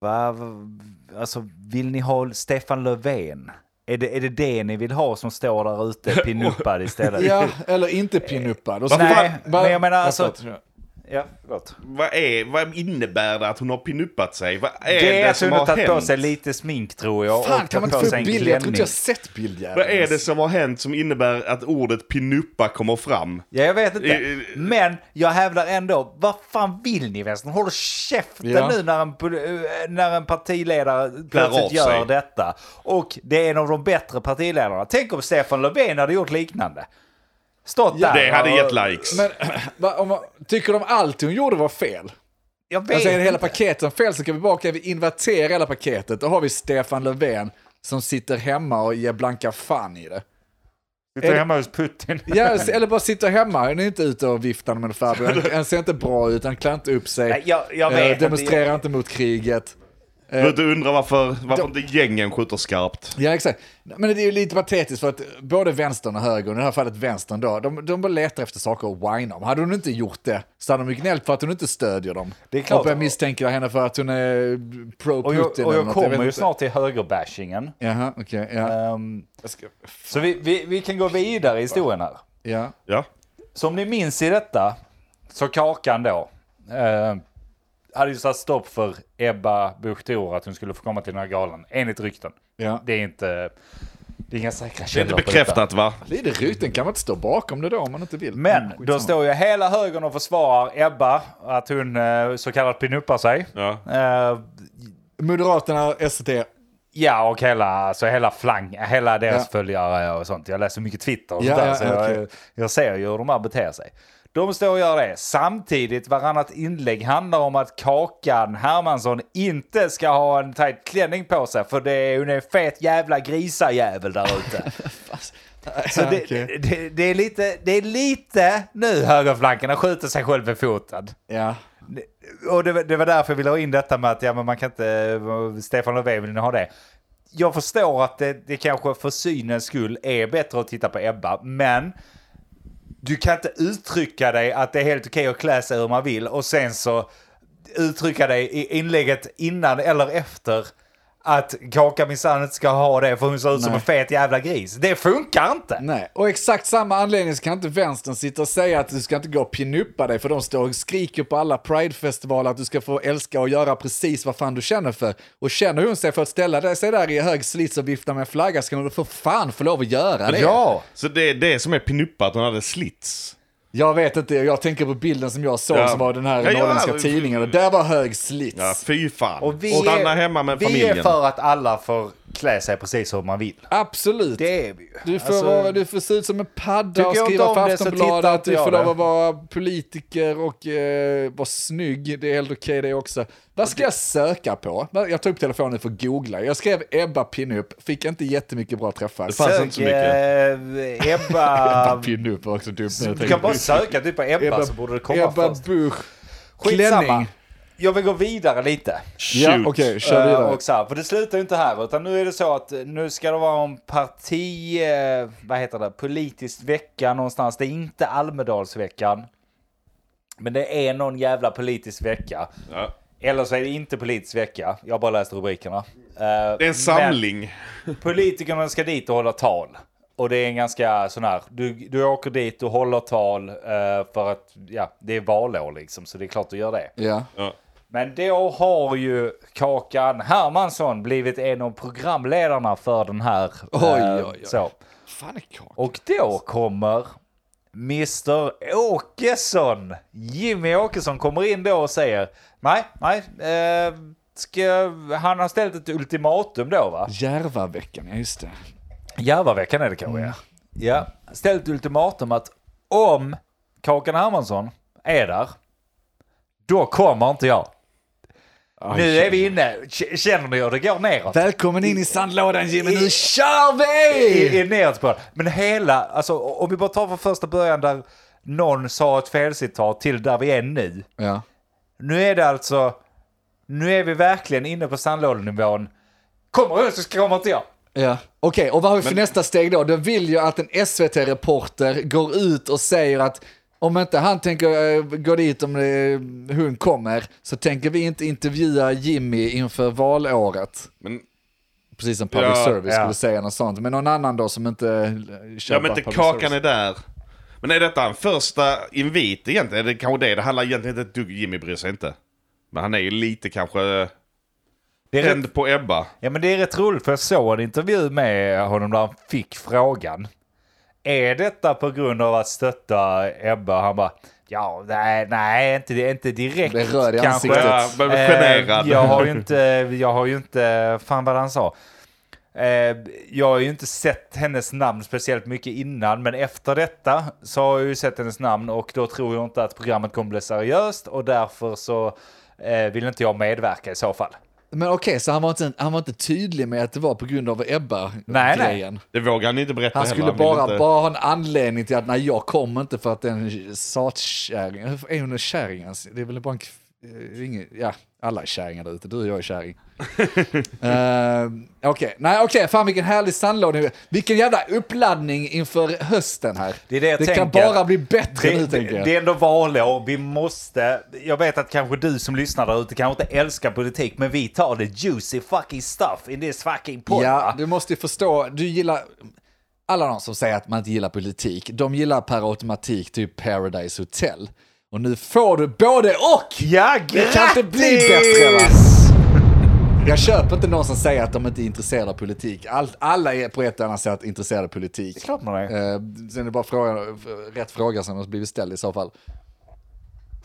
Speaker 2: Va, va- alltså, vill ni ha Stefan Löfven? Är det, är det det ni vill ha som står där ute pinuppad istället?
Speaker 1: ja, eller inte pinuppad. Och så-
Speaker 2: Nej,
Speaker 1: Va-
Speaker 2: men jag menar alltså-
Speaker 1: förlåt.
Speaker 2: ja förlåt.
Speaker 3: Vad, är, vad innebär det att hon har pinuppat sig? Vad är
Speaker 2: Det,
Speaker 3: det,
Speaker 2: är att
Speaker 3: som
Speaker 2: hon har
Speaker 3: har
Speaker 2: tagit
Speaker 3: hänt?
Speaker 2: på sig lite smink tror jag.
Speaker 1: Fan,
Speaker 2: och
Speaker 1: kan man
Speaker 2: tagit
Speaker 1: inte
Speaker 2: på
Speaker 1: få
Speaker 2: sig
Speaker 1: upp
Speaker 2: en
Speaker 1: bilder? Jag tror inte
Speaker 2: klänning.
Speaker 1: jag har sett bilder.
Speaker 3: Vad är det som har hänt som innebär att ordet pinuppa kommer fram?
Speaker 2: Ja, jag vet
Speaker 3: I-
Speaker 2: inte.
Speaker 3: i-
Speaker 2: Men jag hävdar ändå, vad fan vill ni vänstern? Håll käften
Speaker 1: Ja.
Speaker 2: nu när en, pol- eh, när en partiledare plötsligt
Speaker 3: av
Speaker 2: gör
Speaker 3: sig.
Speaker 2: detta. Och det är en av de bättre partiledarna. Tänk om Stefan Löfven hade gjort liknande. Stått där
Speaker 3: Det hade
Speaker 2: och-
Speaker 3: gett likes.
Speaker 1: Men va, om man, tycker de allt hon gjorde var fel?
Speaker 2: Jag vet
Speaker 1: Alltså är det hela
Speaker 2: inte.
Speaker 1: paketen fel så kan vi bara kan vi invertera hela paketet. Då har vi Stefan Löfven som sitter hemma och ger blanka fan i det.
Speaker 2: Sitter hemma hos Putin.
Speaker 1: Ja, eller bara sitter hemma. Han är inte ute och viftar med en farbror. Han- Han ser inte bra ut, han klär inte upp
Speaker 2: Nej,
Speaker 1: sig.
Speaker 2: jag, jag
Speaker 1: Eh,
Speaker 2: vet
Speaker 1: demonstrerar
Speaker 2: inte.
Speaker 1: inte mot kriget.
Speaker 3: Men
Speaker 2: eh,
Speaker 3: Du undrar varför, varför inte gängen skjuter skarpt.
Speaker 1: Ja, exakt. Men det är ju lite patetiskt för att både vänstern och högern, i det här fallet vänstern då, de, de bara letar efter saker och whina om. Hade hon inte gjort det så hade de ju gnällt för att hon inte stödjer dem.
Speaker 2: Det är klart.
Speaker 1: Och börjar misstänka henne för att hon är
Speaker 2: Och
Speaker 1: pro-Putin.
Speaker 2: jag, och
Speaker 1: eller
Speaker 2: jag
Speaker 1: något,
Speaker 2: kommer
Speaker 1: vet
Speaker 2: ju
Speaker 1: inte.
Speaker 2: snart till högerbashingen.
Speaker 1: Jaha, okej. ja.
Speaker 2: Ehm,
Speaker 1: Jag ska-
Speaker 2: så vi, vi, vi kan gå vidare i historien här.
Speaker 1: ja.
Speaker 3: Ja.
Speaker 2: Som ni minns i detta, så Kakan då, eh, hade ju satt stopp för Ebba Busch Thor att hon skulle få komma till den här galan, enligt rykten.
Speaker 1: Ja.
Speaker 2: Det är inte, det är inga säkra
Speaker 3: Det är
Speaker 2: källor
Speaker 3: inte
Speaker 2: på detta.
Speaker 3: bekräftat va?
Speaker 1: Lite rykten kan man inte stå bakom det då om man inte vill. Mm,
Speaker 2: Men då
Speaker 1: Skitsamma.
Speaker 2: står ju hela högern och försvarar Ebba, att hon eh, så kallat pinuppar sig.
Speaker 3: Ja.
Speaker 2: Eh,
Speaker 1: Moderaterna, SD,
Speaker 2: Ja, och hela, alltså hela flang, hela deras
Speaker 1: Ja.
Speaker 2: följare och sånt. Jag läser mycket Twitter och
Speaker 1: Ja,
Speaker 2: sånt där,
Speaker 1: ja,
Speaker 2: så
Speaker 1: okej.
Speaker 2: jag, jag ser ju hur de här beter sig. De står och gör det. Samtidigt, varannat inlägg handlar om att Kakan Hermansson inte ska ha en tajt klänning på sig, för det är, hon är en fet jävla grisajävel där ute. Så det,
Speaker 1: Okej.
Speaker 2: det, det, är lite, det är lite nu högerflanken har skjutit sig själv i foten.
Speaker 1: Ja.
Speaker 2: Och det, var- det var därför jag ville ha in detta med att ja, men man kan inte, eh, Stefan Löfven vill inte ha det. Jag förstår att det, det kanske för synens skull är bättre att titta på Ebba, men du kan inte uttrycka dig att det är helt okej att klä sig hur man vill och sen så uttrycka dig i inlägget innan eller efter att Kaka minsann inte ska ha det för hon ser ut som
Speaker 1: Nej.
Speaker 2: en fet jävla gris. Det funkar inte!
Speaker 1: Nej, och exakt samma anledning så kan inte vänstern sitta och säga att du ska inte gå och pinuppa dig för de står och skriker på alla pridefestivaler att du ska få älska och göra precis vad fan du känner för. Och känner hon sig för att ställa sig där i hög slits och vifta med en flagga ska hon för fan få lov att göra det.
Speaker 2: Ja!
Speaker 3: Så det är det som är pinuppa, att hon hade slits.
Speaker 1: Jag vet inte, jag tänker på bilden som jag såg
Speaker 3: Ja.
Speaker 1: som var den här
Speaker 3: Ja, ja,
Speaker 1: norrländska
Speaker 3: ja.
Speaker 1: tidningen och där var hög slits.
Speaker 3: Ja, fy fan.
Speaker 2: Och vi
Speaker 3: Stanna
Speaker 2: är,
Speaker 3: hemma med
Speaker 2: vi
Speaker 3: familjen.
Speaker 2: är för att alla får klä sig precis hur man vill.
Speaker 1: Absolut.
Speaker 2: Det är vi ju.
Speaker 1: Du får,
Speaker 2: Alltså-
Speaker 1: vara, du får se ut som en padda
Speaker 2: Tycker
Speaker 1: och
Speaker 2: jag
Speaker 1: skriva
Speaker 2: inte
Speaker 1: för
Speaker 2: om det så tittar
Speaker 1: Aftonbladet.
Speaker 2: inte
Speaker 1: Du får
Speaker 2: jag
Speaker 1: lov
Speaker 2: det.
Speaker 1: att vara politiker och eh, vara snygg. Det är helt okej det också. Vad ska jag söka på? Jag tog upp telefonen för att googla. Jag skrev Ebba pinup, fick inte jättemycket bra träffar.
Speaker 3: fanns inte så
Speaker 2: eh, Ebba...
Speaker 1: Ebba pinup var också dumt. när jag
Speaker 2: du
Speaker 1: tänkte
Speaker 2: kan
Speaker 1: på
Speaker 2: bara
Speaker 1: det.
Speaker 2: söka typ på Ebba, så borde det komma
Speaker 1: Ebba
Speaker 2: först.
Speaker 1: Busch.
Speaker 2: Skitsamma.
Speaker 1: Klänning.
Speaker 2: Jag vill gå vidare lite.
Speaker 3: Shoot.
Speaker 1: Ja, okej, kör
Speaker 2: Eh,
Speaker 1: vidare.
Speaker 2: och så här, för det slutar ju inte här, utan nu är det så att eh, nu ska det vara en parti... eh, Vad heter det? Politisk vecka någonstans. Det är inte Almedalsveckan. Men det är någon jävla politisk vecka.
Speaker 3: Ja.
Speaker 2: Eller så är det inte politisk vecka. Jag har bara läst rubrikerna. Eh,
Speaker 3: Det är en
Speaker 2: men-
Speaker 3: samling.
Speaker 2: Politikerna ska dit och hålla tal. Och det är en ganska sån här, du, du åker dit, du håller tal eh, för att ja, det är valår liksom, så det är klart du gör det.
Speaker 1: Ja.
Speaker 3: Ja.
Speaker 2: Men då har ju Kakan Hermansson blivit en av programledarna för den här. eh,
Speaker 1: Oj, oj, oj.
Speaker 2: Så.
Speaker 1: Fan är kak.
Speaker 2: Och då kommer Mr Åkesson. Jimmy Åkesson kommer in då och säger, nej, nej, eh, ska, han har ställt ett ultimatum då va?
Speaker 1: Järvaveckan, ja just det.
Speaker 2: Järvaveckan är det kanske, ja. ja. Ställt ultimatum att om Kakan Hermansson är där, då kommer inte jag.
Speaker 1: Aj,
Speaker 2: nu
Speaker 1: shit.
Speaker 2: är vi inne, K- känner ni hur det går neråt?
Speaker 1: Välkommen in i sandlådan Jimmy, nu kör vi!
Speaker 2: I, i neråt på det. Men hela, alltså om vi bara tar från första början där någon sa ett felcitat till där vi är nu.
Speaker 1: Ja.
Speaker 2: Nu är det alltså, nu är vi verkligen inne på sandlådenivån. Kommer hon så kommer inte jag.
Speaker 1: Ja. Okej, och vad har vi för nästa steg då? Då vill ju att en SVT-reporter går ut och säger att om inte han tänker eh, gå dit om eh, hon kommer så tänker vi inte intervjua Jimmy inför valåret.
Speaker 3: Men,
Speaker 1: Precis som public
Speaker 3: Ja,
Speaker 1: service
Speaker 2: ja.
Speaker 1: skulle säga något sånt. Men någon annan då som inte eh,
Speaker 3: ja,
Speaker 1: köper
Speaker 3: men inte
Speaker 1: public
Speaker 3: Kakan
Speaker 1: service.
Speaker 3: är där. Men är detta en första invit egentligen? Är det kanske det? Det handlar egentligen inte ett dugg. Jimmy bryr sig inte. Men han är ju lite kanske
Speaker 2: Det är rätt
Speaker 3: tänd på Ebba.
Speaker 2: Ja men det är rätt roligt för jag såg en intervju med honom där han fick frågan. Är detta på grund av att stötta Ebba? Han bara, ja nej, nej inte, inte direkt
Speaker 1: Det rör i
Speaker 2: kanske.
Speaker 1: ansiktet.
Speaker 3: Ja, men generad.
Speaker 2: Eh, jag har ju inte, jag har ju inte, fan vad han sa. Eh, jag har ju inte sett hennes namn speciellt mycket innan, men efter detta så har jag ju sett hennes namn och då tror jag inte att programmet kommer bli seriöst och därför så eh, vill inte jag medverka i så fall.
Speaker 1: Men okej, så han var, inte, han var inte tydlig med att det var på grund av
Speaker 2: nej.
Speaker 1: Ebba-grejen.
Speaker 3: Det vågar han inte berätta
Speaker 1: Han
Speaker 3: heller,
Speaker 1: skulle
Speaker 3: vill
Speaker 1: bara,
Speaker 3: inte-
Speaker 1: bara ha en anledning till att nej, jag kommer inte för att den satkärringen, Hur är hon en kärring? ens? Det är väl bara en, kv- eh, ingen, ja, alla är kärringar där ute, du och jag är kärring. uh, okej, nej okej, fan vilken härlig sandlåda. Vilken jävla uppladdning inför hösten här.
Speaker 2: Det är det jag
Speaker 1: kan
Speaker 2: tänker.
Speaker 1: bara bli bättre nu
Speaker 2: Det,
Speaker 1: tänker
Speaker 2: det,
Speaker 1: jag.
Speaker 2: det är ändå valår, vi måste... Jag vet att kanske du som lyssnar där ute kanske inte älskar politik, men vi tar det juicy fucking stuff in this fucking podd. Ah.
Speaker 1: Ja,
Speaker 2: va?
Speaker 1: du måste ju förstå, du gillar... Alla de som säger att man inte gillar politik, de gillar per automatik typ Paradise Hotel. Och nu får du både och!
Speaker 2: ja grattis!
Speaker 1: Det kan inte bli bättre va? Jag köper inte någon som säger att de inte är intresserade av politik. Allt, alla är på ett eller annat sätt intresserade av politik.
Speaker 2: Klart man är.
Speaker 1: Eh, sen är det bara frågan, rätt fråga som har blivit ställd i så fall.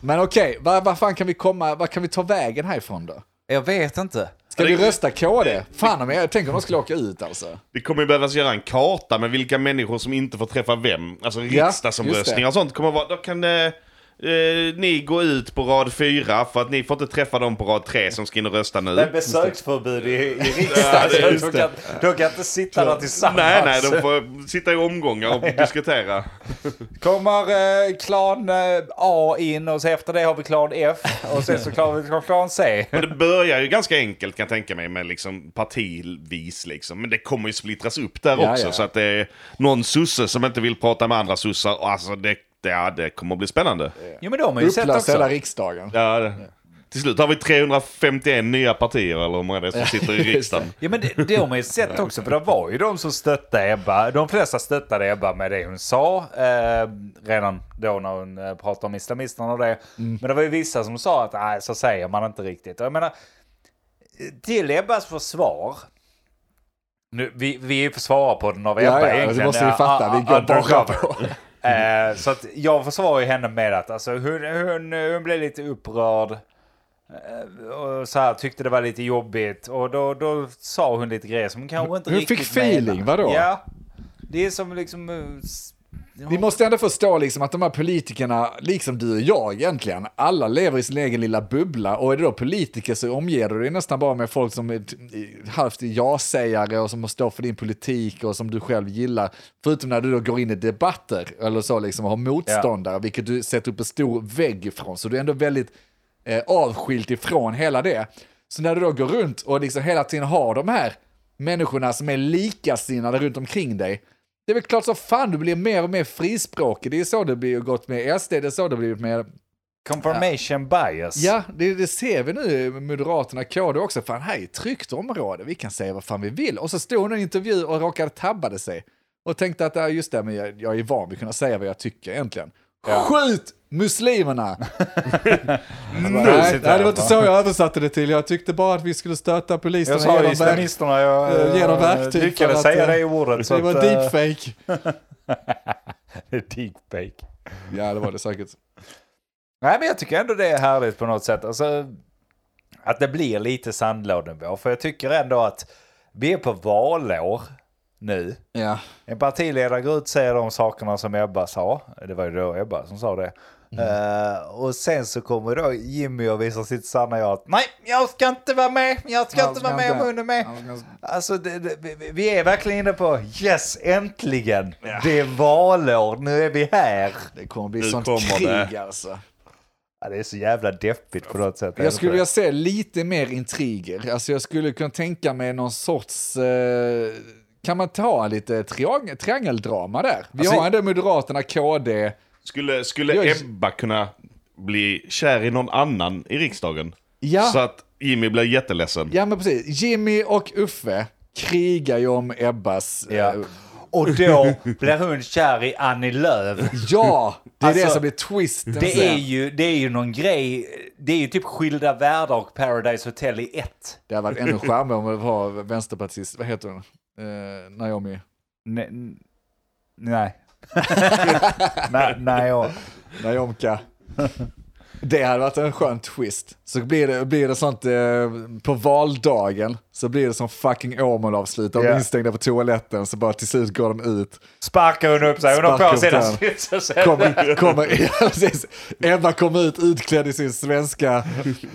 Speaker 1: Men okej, vad vad fan kan vi komma, vad kan vi ta vägen härifrån då?
Speaker 2: Jag vet inte.
Speaker 1: Ska
Speaker 3: Ja,
Speaker 1: vi
Speaker 3: det-
Speaker 1: rösta KD? Fan om jag, tänk om de skulle åka ut alltså.
Speaker 3: Det kommer ju behövas göra en karta med vilka människor som inte får träffa vem. Alltså
Speaker 1: Ja, just det.
Speaker 3: riksdagsomröstningar och sånt kommer vara... Då kan eh, eh, ni gå ut på rad fyra för att ni får inte träffa dem på rad tre som ska in och rösta nu.
Speaker 2: Det är besöksförbud i, i
Speaker 3: Ja,
Speaker 2: riksdagen.
Speaker 3: det är just
Speaker 2: de, kan, de kan inte sitta där tillsammans.
Speaker 3: Nej,
Speaker 1: alltså.
Speaker 3: nej, de får sitta i omgångar och diskutera.
Speaker 2: Kommer eh, klan eh, A in och så efter det har vi klan F och sen så klan, klan- klan C.
Speaker 3: Men det börjar ju ganska enkelt kan jag tänka mig med liksom partivis liksom. Men det kommer ju splittras upp där
Speaker 1: Ja,
Speaker 3: också.
Speaker 1: ja.
Speaker 3: Så att det är någon sosse som inte vill prata med andra sossar. Och Alltså det, det, ja, det kommer att bli spännande.
Speaker 2: Jo men de har ju sett
Speaker 1: Upplös hela
Speaker 2: också.
Speaker 1: riksdagen.
Speaker 3: Ja, det. Till slut har vi 351 nya partier eller hur många det är som sitter i riksdagen.
Speaker 2: Ja men det, de har ju sett också för det var ju de som stöttade Ebba. De flesta stöttade Ebba med det hon sa eh, redan då när hon eh, pratade om islamisterna och det.
Speaker 1: Mm.
Speaker 2: Men det var ju vissa som sa att nej så säger man inte riktigt. Och jag menar till Ebbas försvar. Nu, vi, vi är försvarar på den av Ebba
Speaker 1: Ja, ja,
Speaker 2: egentligen.
Speaker 1: det måste vi fatta. Vi går bara på.
Speaker 2: Eh, så att jag försvarar ju henne med att alltså, hon, hon, hon blev lite upprörd. eh, Och så här, tyckte det var lite jobbigt och då, då sa hon lite grejer som hon kanske inte
Speaker 1: Hon fick
Speaker 2: riktigt
Speaker 1: feeling,
Speaker 2: menar.
Speaker 1: vadå?
Speaker 2: Ja, det är som liksom... eh, s-
Speaker 1: Vi måste ändå förstå liksom att de här politikerna, liksom du och jag egentligen, alla lever i sin egen lilla bubbla och är det då politiker så omger du dig nästan bara med folk som är t- i- halvt ja-sägare och som står för din politik och som du själv gillar. Förutom när du då går in i debatter eller så liksom och har motståndare, vilket du sätter upp en stor vägg ifrån. Så du är ändå väldigt eh, avskilt ifrån hela det. Så när du då går runt och liksom hela tiden har de här människorna som är likasinnade runt omkring dig, det är väl klart så fan du blir mer och mer frispråkig. Det är så det blir gått med SD, det är så det blivit med...
Speaker 2: Confirmation bias.
Speaker 1: Ja, det, det ser vi nu, Moderaterna, KD också. Fan, här är ett tryggt område, vi kan säga vad fan vi vill. Och så stod hon i en intervju och råkade tabbade sig. Och tänkte att, ja, just det, men jag, jag är van vid att kunna säga vad jag tycker egentligen. Skjut muslimerna! nej, nej, det var inte så jag översatte det till. Jag tyckte bara att vi skulle stöta poliserna
Speaker 2: Jag sa ju
Speaker 1: genom verk-
Speaker 2: islamisterna, jag eh,
Speaker 1: eh, genom verktyg.
Speaker 2: lyckades
Speaker 1: för att,
Speaker 2: säga
Speaker 1: eh,
Speaker 2: det i ordet.
Speaker 1: Det var
Speaker 2: att, eh,
Speaker 1: deepfake.
Speaker 2: deepfake.
Speaker 1: Ja, det var det säkert.
Speaker 2: Nej, men jag tycker ändå det är härligt på något sätt. Alltså, att det blir lite sandlådenivå. För jag tycker ändå att vi är på valår nu.
Speaker 1: Ja.
Speaker 2: En partiledare går ut och säger de sakerna som Ebba sa. Det var ju då Ebba som sa det.
Speaker 1: Mm.
Speaker 2: Eh, och sen så kommer då Jimmy och visar sitt sanna jag att nej, jag ska inte vara med, jag ska inte vara med om hon är med. Alltså, det, det, vi- vi är verkligen inne på yes, äntligen. Det är valår, nu är vi här.
Speaker 1: Det kommer bli
Speaker 3: Nu
Speaker 1: sånt
Speaker 3: kommer
Speaker 1: krig
Speaker 3: det.
Speaker 1: alltså.
Speaker 2: Ja, det är så jävla deppigt på något sätt.
Speaker 1: Jag skulle vilja se lite mer intriger. Alltså jag skulle kunna tänka mig någon sorts... Eh, kan man ta lite triang triangeldrama där? Vi
Speaker 2: Alltså-
Speaker 1: har ändå Moderaterna, KD.
Speaker 3: Skulle, skulle
Speaker 1: Jag-
Speaker 3: Ebba kunna bli kär i någon annan i riksdagen?
Speaker 1: Ja.
Speaker 3: Så att Jimmy blir jätteledsen.
Speaker 1: Ja men precis, Jimmy och Uffe krigar ju om Ebbas... eh,
Speaker 2: Ja. Och då blir hon kär i Annie Lööf.
Speaker 1: ja det är det
Speaker 2: Alltså,
Speaker 1: som blir twisten
Speaker 2: Det är,
Speaker 1: sen.
Speaker 2: ju, det är ju någon grej, det är ju typ Skilda Världar och Paradise Hotel i ett.
Speaker 1: Det hade varit ännu charmigare om det var vänsterpartist, vad heter hon? Eh, Naomi.
Speaker 2: Nej. Nej, nej. jag-
Speaker 1: Naomka. Det hade varit en skön twist. Så blir det, blir det sånt eh, på valdagen, så blir det som fucking Åmål-avslut. De
Speaker 2: Ja.
Speaker 1: är instängda på toaletten, så bara till slut går de ut.
Speaker 2: Sparkar hon upp sig, hon har
Speaker 1: Sparkar
Speaker 2: på
Speaker 1: upp
Speaker 2: sig den.
Speaker 1: den. Kommer, kommer, ja, precis. Ebba kom ut utklädd i sin svenska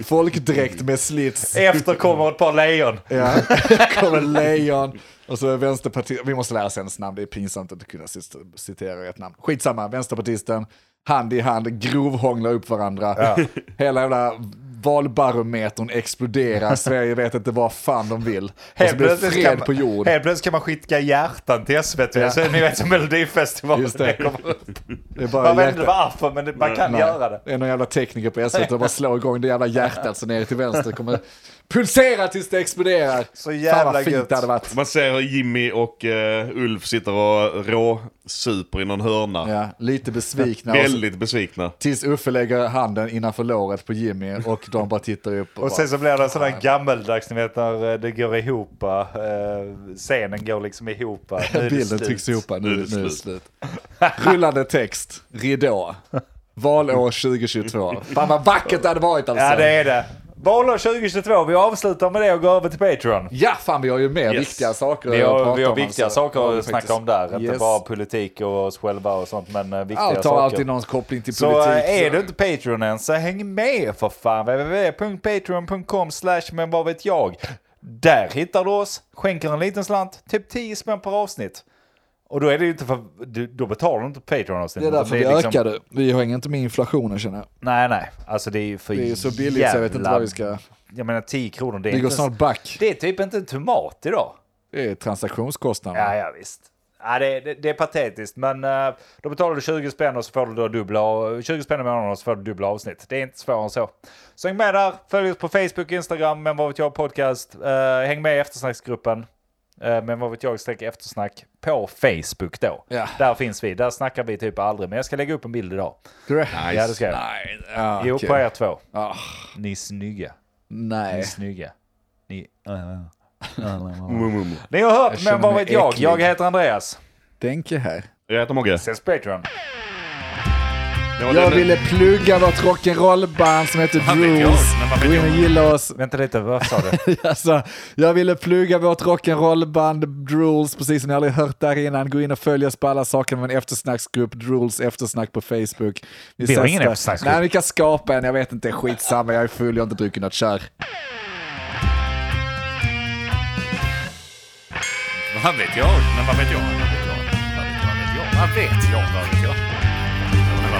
Speaker 1: folkdräkt med slits.
Speaker 2: Efter kommer ett par lejon.
Speaker 1: Ja. Kommer lejon och så är vänsterpartisten, vi måste lära sig hennes namn, det är pinsamt att inte kunna cit- citera rätt namn. Skitsamma, vänsterpartisten, hand i hand, grovhånglar upp varandra. Hela jävla valbarometern exploderar, Sverige vet inte vad fan de vill. Och så blir det
Speaker 2: kan
Speaker 1: fred
Speaker 2: man-
Speaker 1: på jord.
Speaker 2: helt plötsligt kan man skicka hjärtan till SVT. Så, ni vet som Melodifestivalen.
Speaker 1: Just det.
Speaker 2: kommer upp.
Speaker 1: Det är bara
Speaker 2: Man vet
Speaker 1: hjärtat.
Speaker 2: inte varför men det- man kan
Speaker 1: Nej.
Speaker 2: göra det.
Speaker 1: Det är någon jävla tekniker på SVT som bara slår igång det jävla hjärtat så ner till vänster kommer pulsera tills det exploderar.
Speaker 2: Så jävla
Speaker 1: Fan vad fint
Speaker 2: gött.
Speaker 1: det hade varit.
Speaker 3: Man ser hur Jimmy och eh, Ulf sitter och råsuper i någon hörna.
Speaker 1: Ja, lite besvikna. Och så,
Speaker 3: Väldigt besvikna.
Speaker 1: tills Uffe lägger handen innanför låret på Jimmy och de bara tittar upp. Och
Speaker 2: Och
Speaker 1: bara,
Speaker 2: sen så blir det en sån här gammeldags, ni vet när eh, det går ihop. eh, Scenen går liksom ihop. Nu är det
Speaker 1: bilden
Speaker 2: slut.
Speaker 1: trycks ihop, nu, nu
Speaker 3: Nu är det
Speaker 1: är det slut. Rullande text, ridå. Valår 2022. Fan vad vackert det hade varit alltså.
Speaker 2: Ja det är det. Valår 2022, vi avslutar med det och går över till Patreon.
Speaker 1: Ja, fan vi har ju mer
Speaker 3: Yes.
Speaker 1: viktiga saker
Speaker 2: Vi
Speaker 1: att prata
Speaker 2: har,
Speaker 1: om.
Speaker 2: vi har viktiga
Speaker 1: alltså. Ja,
Speaker 2: saker att
Speaker 1: faktiskt.
Speaker 2: snacka om där. Inte
Speaker 1: Yes.
Speaker 2: bara politik och oss själva och sånt men eh, viktiga
Speaker 1: Allt har
Speaker 2: saker.
Speaker 1: alltid någon koppling till
Speaker 2: Så
Speaker 1: politik.
Speaker 2: eh, är du inte Patreon än så häng med för fan. www.patreon.com slash men vad vet jag. Där hittar du oss, skänker en liten slant, typ 10 spänn per avsnitt. Och då är det ju inte för, du, då betalar du inte Patreon avsnitt.
Speaker 1: Det är därför vi
Speaker 2: liksom-
Speaker 1: ökade. Vi hänger inte med inflationen känner jag.
Speaker 2: Nej, nej. Alltså det är ju för
Speaker 1: Det är så billigt
Speaker 2: jävla,
Speaker 1: så jag vet inte vad vi ska...
Speaker 2: Jag menar 10 kronor, det är,
Speaker 1: Vi går
Speaker 2: inte, ens-
Speaker 1: snart back.
Speaker 2: det är typ inte en tomat idag.
Speaker 1: Det är transaktionskostnader.
Speaker 2: Ja, ja visst. Ja, det, det, det är patetiskt, men eh, då betalar du 20 spänn och så får du då dubbla, 20 spänn i månaden och så får du dubbla avsnitt. Det är inte svårare än så. Så häng med där, följ oss på Facebook, Instagram, Men vad vet jag podcast. Eh, häng med i eftersnacksgruppen. eh, Men vad vet jag streck eftersnack på Facebook då.
Speaker 1: Ja.
Speaker 2: Där finns vi. Där snackar vi typ aldrig. Men jag ska lägga upp en bild idag.
Speaker 1: Ska du-
Speaker 2: Ja, det ska jag.
Speaker 1: Nej. Ah,
Speaker 2: Jo,
Speaker 1: okej.
Speaker 2: på er två.
Speaker 1: Ah,
Speaker 2: Ni är snygga. Ni är
Speaker 1: nej.
Speaker 2: snygga. Ni...
Speaker 3: Mm, mm, mm.
Speaker 2: Ni har hört,
Speaker 1: känner
Speaker 2: men vad
Speaker 1: mig
Speaker 2: vet jag?
Speaker 1: äcklig.
Speaker 2: Jag heter Andreas.
Speaker 1: Denke här.
Speaker 3: Jag heter Mogge.
Speaker 2: Ses på Patreon.
Speaker 3: Det var
Speaker 1: Jag
Speaker 3: den-
Speaker 1: ville plugga vårt rock'n'roll-band som heter
Speaker 2: vet jag?
Speaker 1: Drews.
Speaker 2: Men vad vet
Speaker 1: Gå in och gilla oss.
Speaker 2: Vänta lite, vad sa du?
Speaker 1: Alltså, jag ville plugga vårt rock'n'roll-band Drools, precis som ni aldrig hört där innan. Gå in och följ oss på alla saker med en eftersnacksgrupp, Drools eftersnack på Facebook. Vi,
Speaker 2: har
Speaker 1: ses
Speaker 2: ingen
Speaker 1: där.
Speaker 2: eftersnacksgrupp.
Speaker 1: Nej, vi kan skapa en, jag vet inte, skitsamma, jag är full, jag har inte druckit något, kör.
Speaker 2: Vad vet jag? Men vad vet jag? Vad vet jag? Vad vet jag? Vad vet jag? Men